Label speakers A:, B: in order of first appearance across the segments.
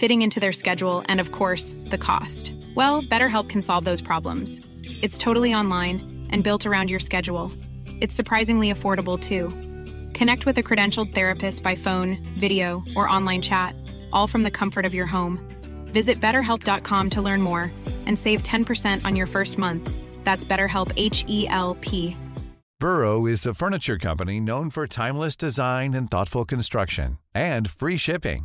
A: fitting into their schedule, and of course, the cost. Well, BetterHelp can solve those problems. It's totally online and built around your schedule. It's surprisingly affordable too. Connect with a credentialed therapist by phone, video, or online chat, all from the comfort of your home. Visit betterhelp.com to learn more and save 10% on your first month. That's BetterHelp H E L P.
B: Burrow is a furniture company known for timeless design and thoughtful construction and free shipping,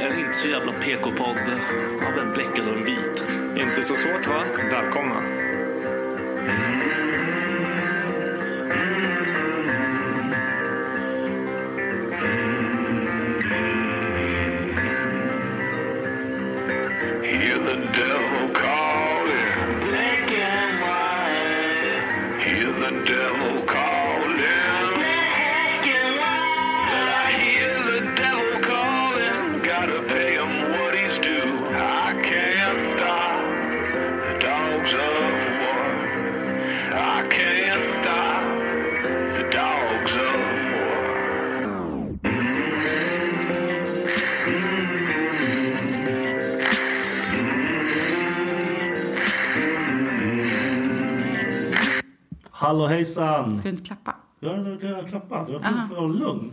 C: En inte så jävla PK-podd av en bläckad och en vit.
D: Inte så svårt va? Välkomna.
E: Hear the devil calling. Black and white. Hear the devil calling. Black and white. I hear the devil calling. Gotta pay him what he's due. I can't stop the dogs of war. I can't stop the dogs of war.
C: Hallå hejsan!
F: Ska du inte klappa?
C: Jag har klappat. Jag trodde för att vara lugn.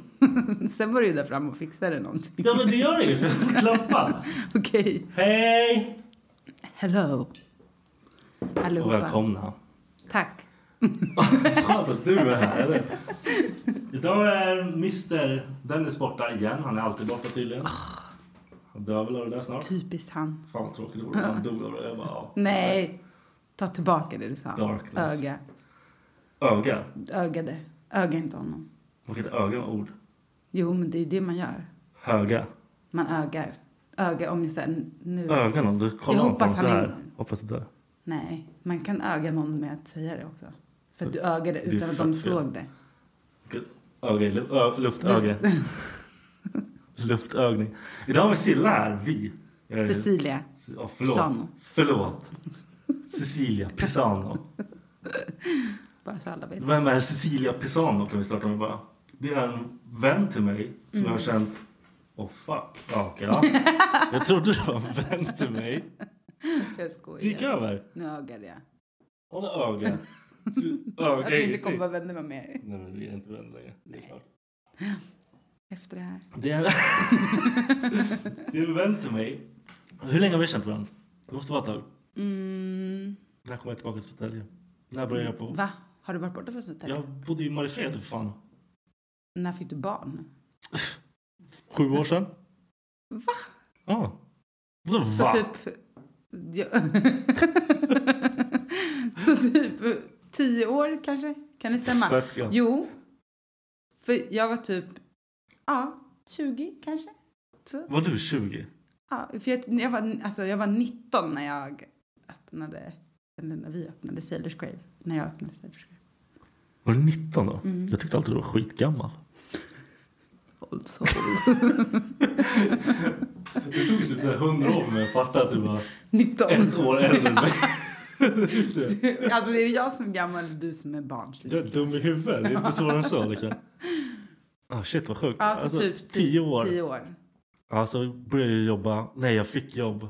F: Sen var du ju där fram och fixade någonting.
C: Ja men det gör jag ju. för jag får Klappa.
F: Okej.
C: Hej!
F: Hello.
C: Och
F: Allihopa.
C: välkomna.
F: Tack.
C: Skönt att du är här. Eller? Idag är Mr Dennis borta igen. Han är alltid borta tydligen. Han dör väl av det där snart.
F: Typiskt han.
C: Fan vad tråkigt det vore. Han dog av det. Jag bara, ja.
F: Nej. Ta tillbaka det du sa.
C: Darkness.
F: Öga.
C: Öga.
F: Ögade. Öga inte honom.
C: Man kan inte öga med ord.
F: Jo, men det är ju det man gör.
C: Höga.
F: Man ögar. Öga om ni säger nu.
C: Ögonen. Du kollar
F: Jag
C: på honom
F: hoppas
C: så
F: han
C: här.
F: inte-
C: Hoppas du dör.
F: Nej, man kan öga någon med att säga det också. För att du ögade
C: Det är
F: utan att de
C: fett fel.
F: såg det.
C: Öga i lu- ö- luftöga. Luftögning. Idag har vi Silla här. Vi. Jag är-
F: Cecilia.
C: Ja, förlåt.
F: Pisano.
C: Förlåt. Cecilia Pisano.
F: Bara så alla vet.
C: Vem är Cecilia Pisano kan vi starta med bara. Det är en vän till mig som
F: Mm.
C: jag har känt... Oh fuck. Ja, okej, ja. Jag trodde det var en vän till mig.
F: Jag
C: Det gick
F: skojar.
C: över.
F: Nu ögade jag.
C: Hon har öga. Så-
F: Att
C: Öga
F: vi
C: i-
F: inte kommer vara vänner med mer
C: Nej men vi är inte vänner längre. Det är klart.
F: efter det här.
C: Det är, det är en vän till mig. Hur länge har vi känt varandra? Det måste vara ett tag.
F: Mm.
C: När kommer jag tillbaka till Södertälje? När började jag på...
F: Va? Har du varit borta från Södertälje?
C: Jag bodde i Mariefred för fan.
F: När fick du barn?
C: Sju år sedan.
F: Va?
C: Ja. Vadå
F: Så
C: va?
F: typ... Ja. så typ tio år kanske? Kan det stämma?
C: Fett gött.
F: Jo. För jag var typ... Ja, 20 kanske? Så.
C: Var du 20?
F: Ja, för jag, jag, var, alltså, jag var 19 när jag öppnade... Eller när vi öppnade Sailor's Grave. När jag öppnade Sailor's Grave.
C: Var du 19 då?
F: Mm.
C: Jag tyckte alltid du var skitgammal.
F: Old soul.
C: Du tog ju typ 100 år men jag fattade att du var
F: 19.
C: ett år äldre än mig.
F: Alltså är det jag som är gammal eller du som är barnslig?
G: Du är dum i huvudet. Det är inte svårare än så. Liksom. Ah, shit, vad sjukt.
F: Alltså, typ ti-
G: tio år.
F: Tio år.
G: Ja, så började jag jobba. Nej, jag fick jobb.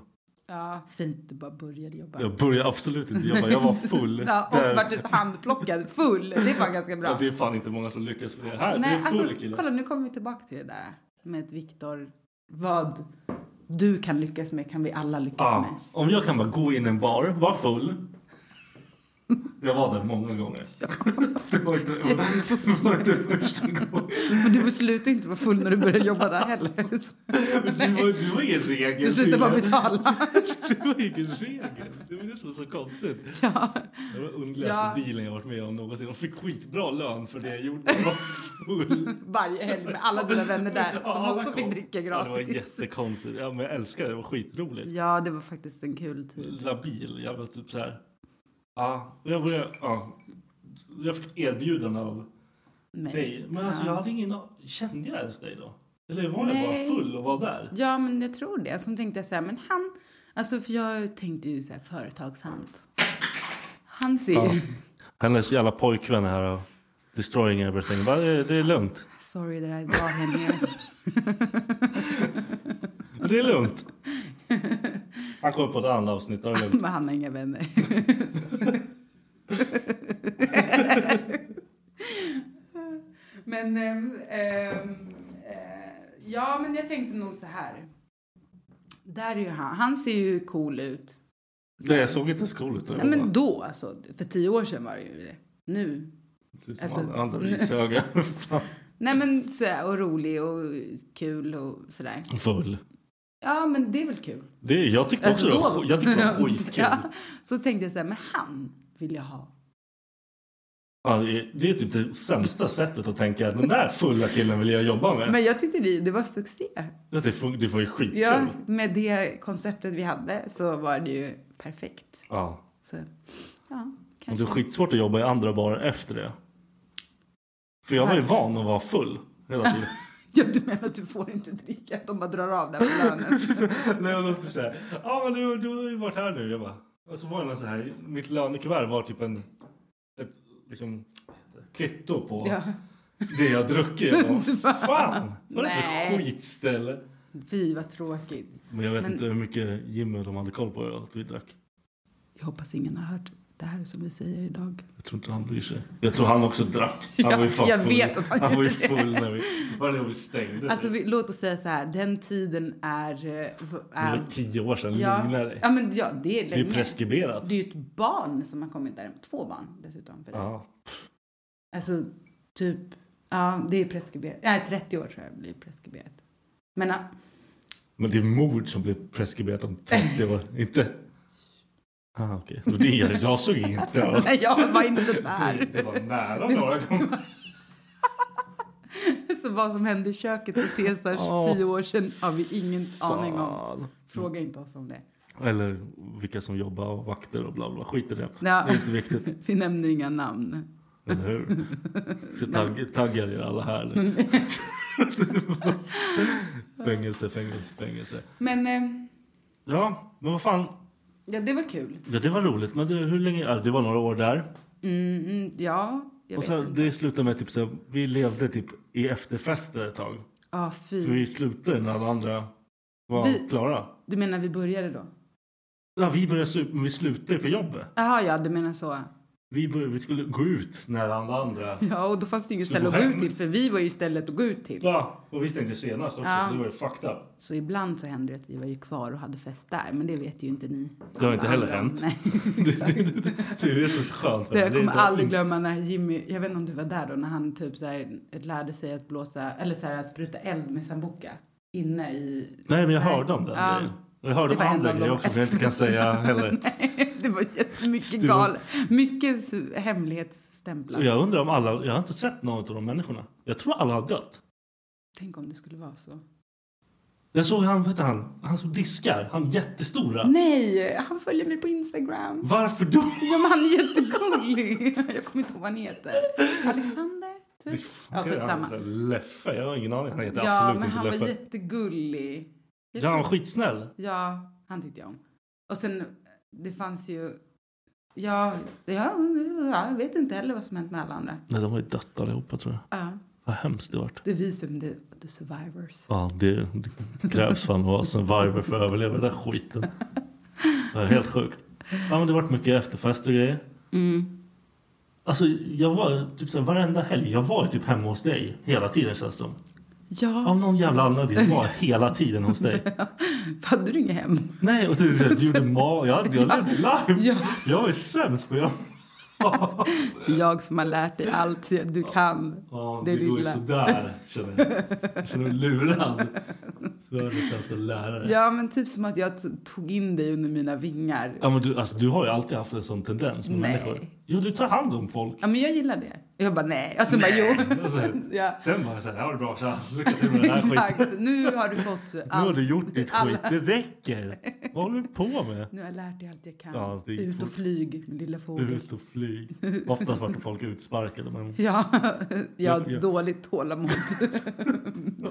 F: Ja, säg inte du bara började jobba.
G: Jag började absolut inte jobba. Jag var full.
F: Ja,
G: Där-
F: och vart typ handplockad, full. Det var ganska bra.
G: Ja, det är fan inte många som lyckas med det här.
F: Nej,
G: du är full
F: alltså,
G: kille.
F: kolla nu kommer vi tillbaka till det där med att Viktor, vad du kan lyckas med kan vi alla lyckas
G: Ja,
F: med.
G: Ah, om jag kan bara gå in i en bar, vara full. Jag var där många gånger. Det var inte, det var inte första gången.
F: Typ, Men du slutar inte vara full när du börjar jobba där heller.
G: Men Du var, du var ingen regel.
F: Du slutar bara
G: tydligen.
F: betala.
G: Du var ingen regel. Det var det som var så konstigt.
F: Ja.
G: Det var underligaste
F: Ja.
G: dealen jag varit med om någonsin. Jag fick skitbra lön för det jag gjorde. Jag var full.
F: Varje helg med alla dina vänner där som
G: Ja, alla
F: också
G: kom.
F: fick dricka
G: Ja, det var
F: gratis.
G: jättekonstigt. Ja, men jag älskar det. Det var skitroligt.
F: Ja, det var faktiskt en kul tid.
G: labil. Jag var typ så här. Ja, jag började, ja. Jag fick erbjudanden av
F: Men-
G: dig. Men alltså
F: ja.
G: jag hade ingen a- Kände jag ens dig då? Eller var jag
F: Nej.
G: bara full och var där?
F: Ja, men jag tror det. Som tänkte jag så här, men han... Alltså, för jag tänkte ju så här, företagshand. Han ser ju...
G: Hennes jävla pojkvän här och destroying everything. Bara, det, det är lugnt.
F: Sorry that I var henne.
G: Det är lugnt. Han kommer på ett annat avsnitt. Då är det lugnt.
F: men han har inga vänner. men... ehm, ehm, eh, ja, men jag tänkte nog så här. Där är ju han. Han ser ju cool ut.
G: Nej, jag såg inte ens cool ut.
F: Nej, men då alltså. För tio år sedan var det ju det. Nu. alltså-
G: Alltså, andra risöga. Fan.
F: Nej, men så här, och rolig och kul och sådär.
G: Full.
F: Ja, men det är väl kul.
G: Det, jag tyckte också det var, sk- jag tyckte det var skitkul.
F: Alltså, ja, så tänkte jag så här, men han vill jag ha.
G: Ja, det är typ det sämsta sättet att tänka att den där fulla killen vill jag jobba med.
F: Men jag tyckte det, det var succé.
G: Ja, Det, fun- det var ju skitkul.
F: Ja,
G: Ja.
F: med det konceptet vi hade så var det ju perfekt. Så, ja,
G: Och det
F: kanske.
G: är skitsvårt att jobba i andra barer efter det. För jag var ju van att vara full hela tiden.
F: Ja, du menar att du får inte dricka? De bara drar av den på lönen.
G: Nej, men de typ såhär, ja men du, du har ju varit här nu. Jag bara, och så var det någon så här, mitt lönekuvert var typ en, ett liksom, vad heter det? kvitto på
F: Ja.
G: det jag druckit. Jag bara,
F: Du bara,
G: fan! Vad är det
F: nej.
G: för skitställe?
F: Fy, vad tråkigt.
G: Men jag vet
F: Men-
G: inte hur mycket Jimmy och de hade koll på att vi drack.
F: Jag hoppas ingen har hört det här som vi säger idag.
G: Jag tror inte han bryr sig. Jag tror han också drack. Han
F: Ja,
G: var ju fan
F: jag
G: full.
F: vet att han
G: var ju
F: gjorde det.
G: full när vi, var det när vi stängde.
F: Alltså, vi, låt oss säga så här, den tiden är... eh, v-
G: det var
F: är
G: ju tio år sedan. Lugna
F: ja,
G: dig.
F: ja, men ja, det är
G: Det är
F: länge.
G: ju preskriberat.
F: Det är ju ett barn som har kommit där. Två barn dessutom. För det.
G: Ja.
F: Alltså, typ... Ja, det är preskriberat. Nej, 30 år tror jag blir preskriberat. Men ja,
G: Men det är mord som blir preskriberat om 30 år. Inte... Ah, okej. Men Det, jag, jag såg inget där.
F: nej, jag var inte
G: Det,
F: där.
G: det var nära några gånger.
F: Så vad som hände i köket på Caesars
G: Ja.
F: tio år sedan har vi ingen aning om.
G: Fan.
F: Fråga inte oss om det.
G: Eller vilka som jobbar och vakter och bla bla. Skit i det.
F: Ja.
G: Det är inte viktigt.
F: Vi nämner inga namn.
G: Eller hur? Så tagg, taggar er alla här nu. fängelse, fängelse, fängelse.
F: Men eh,
G: Ja, men vad fan.
F: ja, det var kul.
G: Ja, det var roligt. Men det, hur länge? Ja, det var några år där.
F: Mm, mm, ja, jag
G: Och
F: vet
G: sen,
F: inte.
G: det slutade med typ så här, vi levde typ i efterfester ett tag.
F: Ja,
G: För
F: fy.
G: vi slutade när alla andra var
F: Vi-
G: klara.
F: Du menar vi började då?
G: Ja, vi började supa, men vi slutade på jobbet.
F: Jaha, ja, du menar så.
G: Vi, började, vi skulle gå ut när alla andra...
F: Ja, och då fanns det inget
G: Skulle
F: ställe att
G: gå
F: gå
G: hem.
F: ut till, för vi var ju stället att gå ut till.
G: Ja, och vi stängde senast också,
F: Ja.
G: så det var ju fucked up.
F: Så ibland så hände det att vi var ju kvar och hade fest där, men det vet ju inte ni.
G: Det har inte heller
F: Alla andra.
G: hänt.
F: Nej.
G: Det, det, det, det är det som är så skönt.
F: Det jag
G: är
F: kommer
G: inte-
F: aldrig glömma när Jimmy, jag vet inte om du var där då, när han typ så här lärde sig att blåsa, eller så här att spruta eld med sambuca inne i...
G: Nej, men jag hörde om den
F: Ja.
G: grejen. Och Jag hörde
F: Det
G: om
F: var en
G: andra
F: av
G: grejer
F: de
G: också, som jag inte kan säga heller.
F: Nej, det var jättemycket
G: Det var-
F: gal, mycket s- hemlighetsstämplar.
G: Och Jag undrar om alla... Jag har inte sett någon av de människorna. Jag tror alla har dött.
F: Tänk om det skulle vara så.
G: Jag såg han, vad heter han? Han som diskar. Han jättestora.
F: Mm. Nej, han följer mig på Instagram.
G: Varför då?
F: Ja, men han är jättegullig. Jag kommer inte ihåg vad han heter. Alexander, typ. Ja, skitsamma.
G: Leffe? Jag har ingen aning. Han heter
F: Ja,
G: absolut
F: men
G: inte
F: han var
G: Leffe.
F: jättegullig. Jag
G: Ja, han
F: tror-
G: var skitsnäll.
F: Ja, han tyckte jag om. Och sen, det fanns ju... Jag, jag, jag vet inte heller vad som hänt med alla andra.
G: Nej, de har ju dött allihopa tror jag.
F: Ja.
G: Vad hemskt det vart.
F: Det är vi som the, the survivors.
G: Ja, det, det krävs fan att vara survivor för att överleva den där skiten. Det är helt sjukt. Ja, men det vart mycket efterfest och grejer.
F: Mm.
G: Alltså, jag var typ så här, varenda helg. Jag var ju typ hemma hos dig hela tiden känns det som.
F: Ja.
G: Av någon jävla anledning var jag hela tiden hos dig.
F: Hade du inga hem?
G: Nej, och du, du gjorde mat. Jag, jag levde live.
F: Ja.
G: Jag är sämst på jag.
F: Så jag som har lärt dig allt du kan.
G: Ja,
F: Det
G: det,
F: är
G: går ju
F: lilla.
G: sådär, känner jag. Jag känner mig lurad. Så jag är den sämsta lärare.
F: Ja, men typ som att jag to- tog in dig under mina vingar.
G: Ja, men du, alltså, du har ju alltid haft en sån tendens med
F: Nej.
G: människor. Jo, du tar hand om folk.
F: Ja, men jag gillar det. Jag bara nej. Och så bara jo.
G: Alltså,
F: Ja.
G: Sen bara så här, ja det är bra, tja. Lycka till med den här skiten.
F: Exakt. Nu har du fått
G: Nu har
F: allt.
G: du gjort ditt
F: Alla-
G: skit, det räcker. Vad håller du på med?
F: Nu har jag lärt dig allt jag kan.
G: Ja, det gick
F: Ut och
G: fort.
F: flyg, min lilla fågel.
G: Ut och flyg. Oftast vart folk utsparkade. Men...
F: Ja, jag
G: Ja,
F: har
G: ja.
F: dåligt tålamod.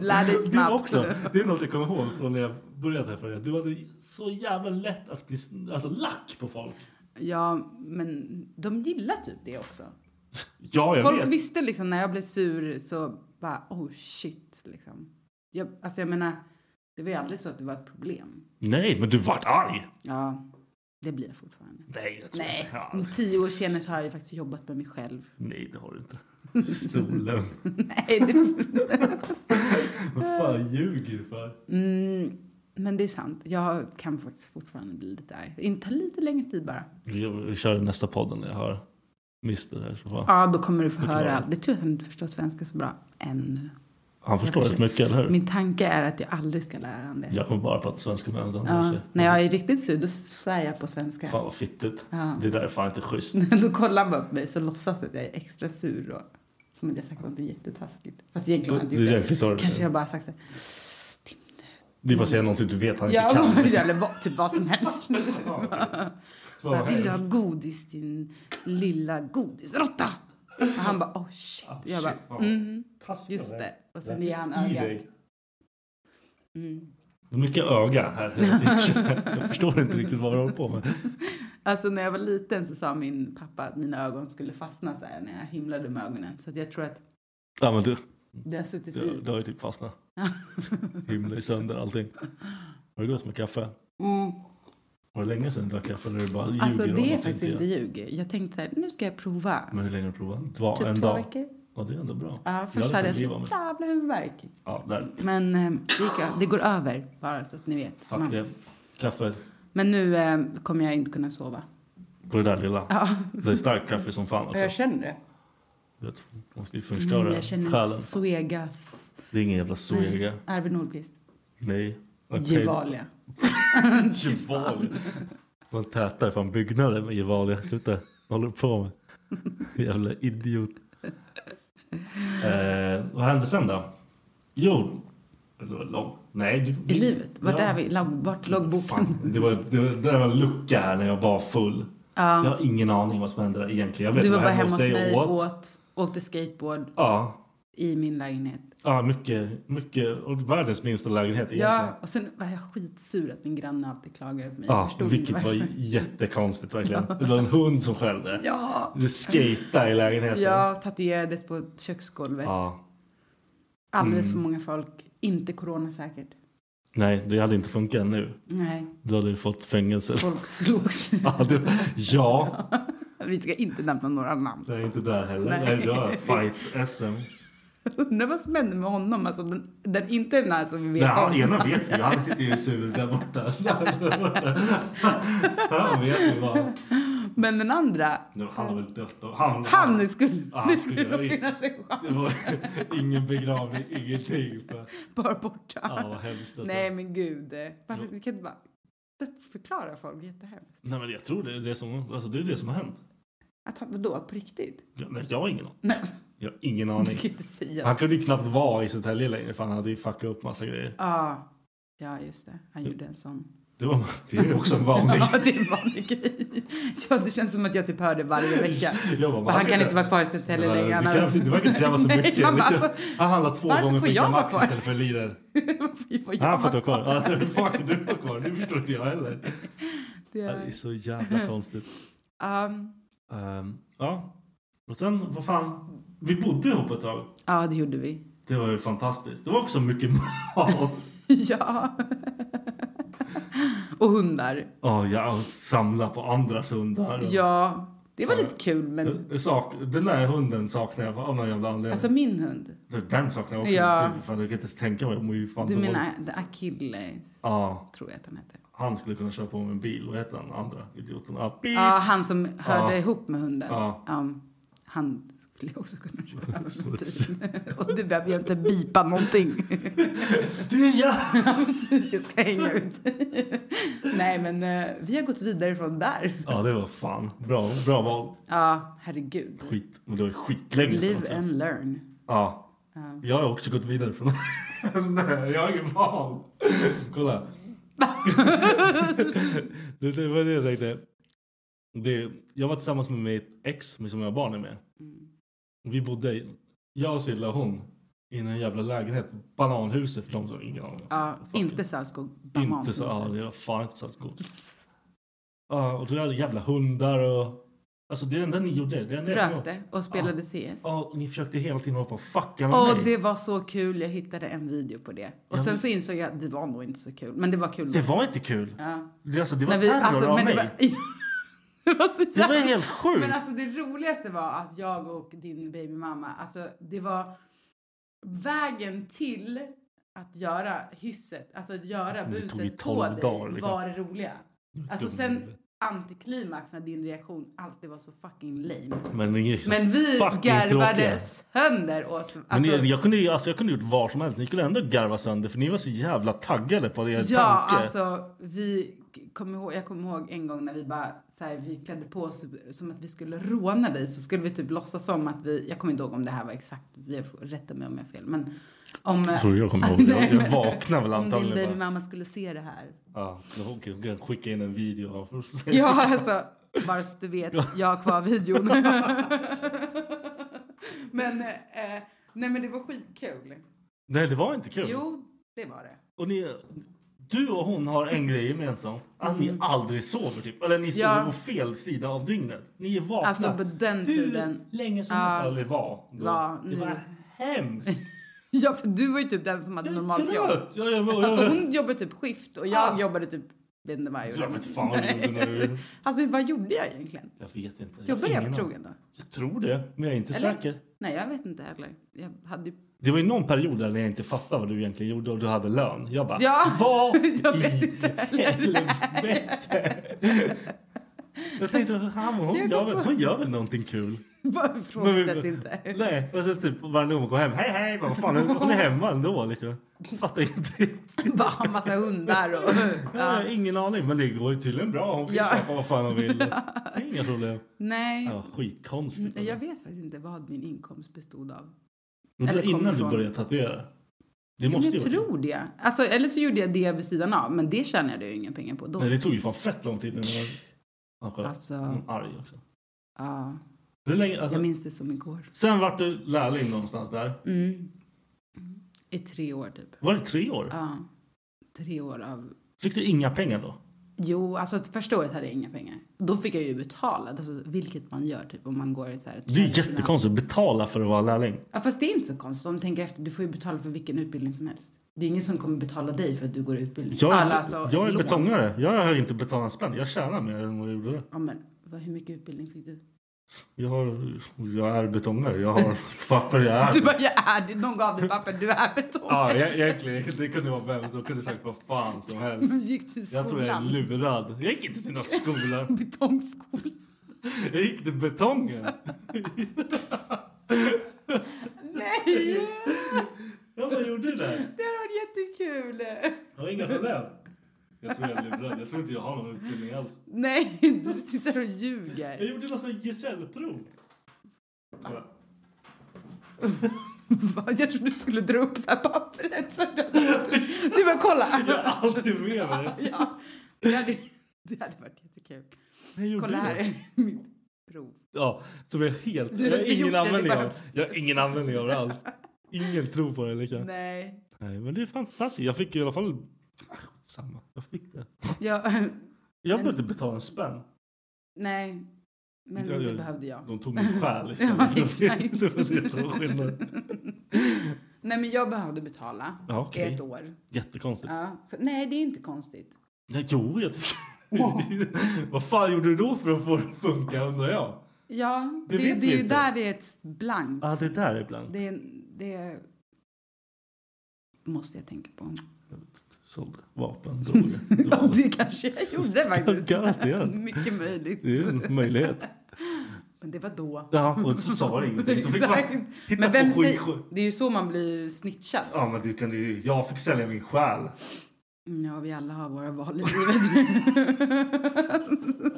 F: Lär dig
G: Du
F: snabbt.
G: också, det är något jag kommer ihåg från när jag började träffa dig. Du hade så jävla lätt att bli sn- alltså, lack på folk.
F: Ja, men de gillar typ det också.
G: Ja, jag
F: Folk
G: vet.
F: visste liksom när jag blev sur så bara oh shit liksom. Jag, alltså jag menar, det var ju aldrig så att det var ett problem.
G: Nej, men du vart arg.
F: Ja, det blir jag fortfarande.
G: Nej, jag tror
F: Nej,
G: inte. Ja,
F: om tio år senare så har jag ju faktiskt jobbat med mig själv.
G: nej, det har du inte. Stolen.
F: Nej, det,
G: Vad fan ljuger du för?
F: mm, men det är sant. Jag kan faktiskt fortfarande bli lite arg. Inte lite längre tid bara.
G: Vi kör nästa podden när jag har Mr här. Så får-
F: Ja, då kommer du få
G: Förklara.
F: höra. Det är tur att han inte förstår svenska så bra ännu.
G: Han förstår
F: Jag
G: rätt mycket, eller hur?
F: Min tanke är att jag aldrig ska lära honom det.
G: Jag kommer bara prata svenska med honom.
F: Ja,
G: kanske. Mm.
F: när jag är riktigt sur, då svär jag på svenska.
G: Fan vad fittigt.
F: Ja.
G: Det där är fan inte schysst.
F: Då kollar han bara på mig så låtsas det att jag är extra sur. Och, som att jag sagt något jättetaskigt. Fast egentligen har jag inte
G: Det är
F: gjort
G: egentligen så det är.
F: det. Kanske jag bara sagt så här.
G: Det är bara att säga någonting du vet han inte
F: Ja,
G: kan.
F: eller vad, typ vad som helst. Bara, Vill du ha godis din lilla godisråtta? Och han bara oh shit. Och jag
G: Ah, shit,
F: bara
G: vad
F: mm,
G: Taskig
F: just
G: av
F: det.
G: dig.
F: Och sen ger han
G: I dig.
F: ögat. Mm.
G: Det är Mycket öga här. hela tiden. jag förstår inte riktigt vad vi håller på med.
F: Alltså när jag var liten så sa min pappa att mina ögon skulle fastna så här när jag himlade med ögonen. Så att jag tror att
G: Ja, men du,
F: det har suttit
G: du,
F: i.
G: du har ju typ fastnat. Himla i sönder allting. Har det gått med kaffe?
F: Mm.
G: Var det länge sedan du drack kaffe? Eller är det bara ljuger
F: Alltså
G: om att
F: det är
G: du
F: faktiskt
G: gör?
F: inte ljug. Jag tänkte så här, nu ska jag prova.
G: Men hur länge har du provat? Det var
F: typ
G: en
F: två
G: dag.
F: veckor.
G: Ja, det är ändå bra.
F: Ja, först hade jag
G: kunnat leva
F: så
G: med-
F: jävla huvudvärk.
G: Ja, där.
F: Men eh, det, gick, ö- det går över, bara så att ni vet.
G: Fuck
F: Man-
G: det. Kaffe.
F: Men nu eh, kommer jag inte kunna sova.
G: På det där lilla. Det är starkt kaffe som fan.
F: Jag
G: Alltså.
F: känner det.
G: Du vet, måste ju förstöra
F: Mm, jag känner
G: själen.
F: Suegas.
G: Det är ingen jävla Zoega.
F: Arvid Nordqvist.
G: Nej.
F: Gevalia.
G: Gevalia. Man tätar fan byggnader med Gevalia. Sluta. Vad håller du på med? Jävla idiot. Eh, vad hände sen då? Jo. Det var långt. Nej. du-
F: I livet. Vart
G: Ja.
F: är vi? Lag- Vart låg boken?
G: Fan, det var, det, var, det där var en lucka här när jag var full. Jag har ingen aning vad som hände där egentligen. Jag vet
F: Du var
G: vad
F: bara
G: jag
F: hemma hos
G: dig
F: mig, åt, åkte skateboard
G: Ja,
F: i min lägenhet.
G: ja mycket, mycket. Och världens minsta lägenhet egentligen.
F: Ja, och sen var jag skitsur att min granne alltid klagade på mig. Jag
G: Ja,
F: förstod inte
G: vilket var
F: varför.
G: jättekonstigt verkligen. Det var en hund som skällde.
F: Ja,
G: Du skejtade i lägenheten.
F: jag tatuerades på köksgolvet.
G: Ja. Mm.
F: Alldeles för många folk. Inte coronasäkert.
G: Nej, det hade inte funkat nu.
F: Nej,
G: Du hade ju fått fängelse.
F: folk slogs.
G: Ja, du, ja.
F: Vi ska inte nämna några namn.
G: det är inte där heller.
F: Nej.
G: Nej, jag fight-SM.
F: Undrar vad som hände med honom. Alltså, den, den, inte den här som vi vet
G: Ja,
F: om.
G: ena vet vi ju. Han sitter ju sur där borta. Där borta. Han vet ju vad...
F: Men den andra.
G: Nu, han har väl dött av... Han,
F: Han skulle,
G: Ja, han
F: det skulle
G: skulle-
F: nog finnas en chans.
G: Det var ingen begravning, ingenting. För,
F: Bara borta.
G: ja, vad hemskt alltså.
F: Nej
G: Nej.
F: men gud. Varför vi kan inte bara dödsförklara folk jättehemskt?
G: men jag tror det är det som, alltså, det, är det som har hänt.
F: Att han, vadå, på riktigt?
G: Jag, nej, jag har ingen aning.
F: Nej,
G: Jag har ingen
F: du kan
G: aning.
F: ju inte säga
G: Han
F: så.
G: kunde ju knappt vara i Södertälje längre för han hade ju fuckat upp massa grejer.
F: Ja, ja just det. Han gjorde en sån.
G: Det, var, det är ju också en vanlig
F: Ja, det är en vanlig grej. Ja, det känns som att jag typ hör det varje vecka.
G: Jag bara,
F: Och han kan inte vara kvar i Södertälje
G: Nej,
F: längre.
G: det
F: Han har-
G: krävs inte- Det verkar inte kräva så
F: Nej,
G: mycket.
F: man bara, alltså,
G: han handlar två
F: varför
G: gånger
F: får
G: för
F: jag vara
G: Max
F: kvar?
G: istället för Lidl.
F: Fy, vad
G: Han
F: jag
G: får inte
F: var
G: vara kvar.
F: kvar.
G: Ja, Hur fan kan du vara kvar? Det förstår inte jag heller.
F: Det
G: Det
F: är-
G: är så jävla konstigt.
F: Ehm,
G: Ehm, ja. Och sen, vad fan. Vi bodde ihop ett tag.
F: ja, det gjorde vi.
G: Det var ju fantastiskt. Det var också mycket mat.
F: ja. och hundar.
G: Ja, jag samlar på andras hundar.
F: Ja, det var
G: Fan.
F: lite kul, men
G: Jag sak- Den där hunden saknar jag av någon jävla anledning.
F: alltså min hund.
G: Den saknar jag också.
F: Ja.
G: Du, fan, jag kan inte ens tänka mig. Jag mår ju fan
F: Du
G: dåligt.
F: menar Achilles,
G: Ja.
F: tror jag att han hette.
G: Han skulle kunna köpa om en bil. Vad heter den andra idioten? Ah, Ja, bil.
F: Ja, han som hörde ihop med hunden.
G: Ja.
F: Ja, han skulle jag också kunna köra Och du behöver ju inte bipa någonting.
G: Det är jag!
F: Precis, jag ska hänga ut. Nej, men eh, vi har gått vidare från där.
G: Ja, det var fan. Bra, bra val.
F: Ja, herregud.
G: Skit. Men det var ju skitlänge sedan
F: Live
G: också.
F: and learn.
G: Ja. Jag har också gått vidare från... Nej, jag har inget val. Kolla. det, det var det jag tänkte. Det, jag var tillsammans med mitt ex som jag har barn med.
F: Mm.
G: Vi bodde, i- jag, Silla och hon, i en jävla lägenhet. Bananhuset för de som ingen aning om.
F: Ja,
G: Fuck it.
F: inte Saltskog.
G: Inte så, ja, det var fan inte så gott. Ja, och då hade jag jävla hundar och... Alltså det enda ni gjorde, det enda jag
F: Rökte och spelade CS.
G: Ja, och ni försökte hela tiden hålla på och fucka med
F: Och
G: mig.
F: det var så kul. Jag hittade en video på det. Och sen så insåg jag att det var nog inte så kul. Men det var kul.
G: Det var inte kul.
F: Ja.
G: Det, alltså, det var
F: Men vi-
G: terror
F: alltså,
G: av
F: men
G: mig.
F: det var- Det var så
G: Det var
F: jävla-
G: helt sjukt.
F: Men alltså det roligaste var att jag och din babymamma, alltså det var vägen till att göra hysset, alltså att göra
G: Men det tog ju
F: buset på
G: tolv
F: dig
G: dagar, liksom.
F: var det roliga. Alltså
G: dum i
F: sen
G: huvudet.
F: antiklimax när din reaktion alltid var så fucking lame.
G: Men, ni är så
F: Men vi
G: fucking tråkiga.
F: garvade sönder åt...
G: Men
F: Alltså,
G: ni, jag, kunde, ju- alltså, jag kunde gjort vad som helst. Ni skulle ändå garva sönder för ni var så jävla taggade på er
F: Ja,
G: tanke.
F: alltså vi kom ihåg, jag kommer ihåg en gång när vi bara så här, vi klädde på oss som att vi skulle råna dig så skulle vi typ låtsas som att vi, jag kommer inte ihåg om det här var exakt, jag får rätta mig om jag har fel, men om... eh,
G: Jag tror jag kommer ihåg det.
F: Nej,
G: Jag- jag
F: men-
G: vaknar väl
F: Om din
G: antagligen bara.
F: babymamma skulle se det här.
G: Ja, då kan jag skicka in en video av
F: Ja, alltså, bara så att du vet, jag har kvar videon. men, eh, nej men det var skitkul.
G: Nej, det var inte kul.
F: Jo, det var det.
G: Och ni, du och hon har en grej gemensamt. Att ni aldrig sover typ. Eller ni sover
F: Mm. Ja.
G: på fel sida av dygnet. Ni är vakna.
F: Alltså, på den tiden-
G: Hur länge som helst. Eller var. Då.
F: var
G: det
F: nu.
G: var hemskt.
F: Ja, för du var ju typ den som hade normalt jobb.
G: Trött! Ja, jag, jag,
F: Ja,
G: jag,
F: för hon jobbade typ skift och jag
G: Ah.
F: jobbade typ, vet inte vad jag gjorde.
G: Jag vet fan vad jag gjorde nu.
F: Alltså vad gjorde jag egentligen?
G: jag vet inte. har
F: Jobbade jag
G: ingen
F: på
G: aning.
F: krogen då?
G: Jag tror det, men jag är inte
F: Eller?
G: säker.
F: Nej, jag vet inte heller. Jag hade ju...
G: Det var ju någon period där jag inte fattade vad du egentligen gjorde och du hade lön. Jag bara,
F: Ja,
G: Ah, vad
F: jag vet
G: i
F: inte heller.
G: helvete? Jag tänkte,
F: Alltså,
G: han, hon,
F: Jag
G: gör
F: går
G: väl,
F: på-
G: hon gör väl någonting kul?
F: Vad
G: Men vi-
F: ifrågasätt inte.
G: Nej, och sen typ varje gång hon går hem, hej hej, vad fan, hon är hemma ändå liksom. Fattar inte.
F: Bara ha massa hundar och...
G: Ja.
F: Ja.
G: Ingen aning, men det går ju tydligen bra. Hon kan
F: Ja.
G: köpa vad fan hon vill. Det är inga problem.
F: Nej,
G: Ja, skitkonstigt.
F: jag vet faktiskt inte vad min inkomst bestod av.
G: Men det var
F: Eller kom
G: innan du
F: från-
G: började tatuera? Det
F: Jo, men
G: måste
F: jag
G: ju vara-
F: tror det. Alltså, eller så gjorde jag det vid sidan av, men det tjänade jag ju inga pengar på då.
G: Nej, det tog ju fan fett lång tid innan jag Mm. Ja, kolla.
F: Oh. Alltså,
G: Hon är arg också.
F: ja.
G: Hur länge, alltså,
F: Jag minns det som igår.
G: Sen vart du lärling någonstans där.
F: Mm. I tre år typ.
G: Var det tre år?
F: Ja. Tre år av
G: Fick du inga pengar då?
F: Jo, alltså första året hade jag inga pengar. Då fick jag ju betala, alltså, vilket man gör typ om man går i så här...
G: Det är ju jättekonstigt att betala för att vara lärling.
F: Ja, fast det är inte så konstigt. Om du tänker efter, du får ju betala för vilken utbildning som helst. Det är ingen som kommer betala dig för att du går i utbildning.
G: Jag är,
F: Alla, alltså,
G: jag är
F: lån.
G: betongare. Jag har inte betalat en spänn. Jag tjänar mer än vad jag gjorde.
F: Ja, men vad, hur mycket utbildning fick du?
G: Jag, har, jag är betongare. Jag har papper. Jag är
F: Du bara, jag är det. Någon gav dig papper, du är betong.
G: Ja, e- egentligen. Det kunde vara vem som kunde sagt vad fan som helst.
F: Du gick till skolan.
G: Jag tror jag är lurad. Jag gick inte till någon skola.
F: Betongskolan.
G: Jag gick till betongen.
F: Nej,
G: Jag bara gjorde det där.
F: det hade varit jättekul.
G: Jag har inga problem. Jag tror jag är lurad. Jag tror inte jag har någon utbildning alls.
F: Nej, du sitter och
G: Jag
F: ljuger.
G: gjorde något sånt gesällprov. Kolla.
F: Va? Jag trodde du skulle dra upp så här pappret. Så här. Du bara, kolla.
G: Jag är alltid med mig.
F: Ja, det hade, det hade varit jättekul.
G: Jag gjorde
F: Kolla här
G: det.
F: är mitt prov.
G: Ja, som jag helt...
F: Du har
G: Jag har
F: inte gjort det,
G: ingen
F: det
G: användning
F: bara-
G: av. Jag har ingen användning av det alls. Ingen tror på det lika.
F: Nej.
G: Nej, men det är fantastiskt. Jag fick ju i alla fall... Ah, Samma. Jag fick det.
F: Ja,
G: Jag behövde betala en spänn.
F: nej. Men
G: Ja, ja,
F: det behövde jag.
G: De tog min själ istället.
F: ja,
G: Det var
F: exakt.
G: det var det som var skillnaden.
F: Nej, men jag behövde betala i
G: Ja, okej.
F: ett år.
G: Jättekonstigt.
F: Ja, för, nej, det är inte konstigt.
G: Nej, jo, jag tycker... Vad fan gjorde du då för att få det att funka undrar jag?
F: Ja,
G: Det
F: det,
G: vet
F: det,
G: vi
F: är ju
G: inte. Ah.
F: där det är ett blankt.
G: Ja, det där ibland.
F: Det, det måste jag tänka på.
G: Sålde vapen, droger. Det
F: Ja,
G: var-
F: det kanske jag gjorde
G: ska-
F: faktiskt.
G: garanterat.
F: Mycket möjligt.
G: Det är en möjlighet.
F: Men det var då.
G: Ja, och så sa du ingenting. Så fick man
F: Exakt.
G: hitta
F: Men vem
G: på skit-
F: säger... Det är ju så man blir snitchad.
G: Ja, men du kan ju... Jag fick sälja min själ.
F: Mm, Ja, vi alla har våra val i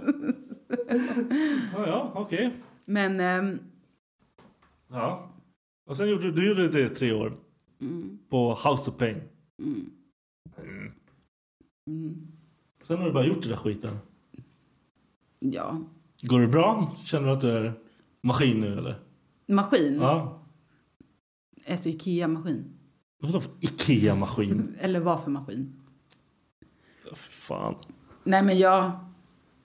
F: livet.
G: Ja, ja, okej.
F: Men... ehm,
G: Ja. Och sen gjorde du gjorde det i tre år
F: mm,
G: på House of Pain.
F: mm, mm,
G: Sen har du bara gjort den där skiten.
F: ja.
G: Går det bra? Känner du att du är maskin nu
F: Mm.
G: eller?
F: Maskin.
G: Ja.
F: Alltså Ikea-maskin.
G: Vadå för Ikea-maskin?
F: Eller vad för maskin?
G: Ja, Fy fan.
F: Nej, men jag...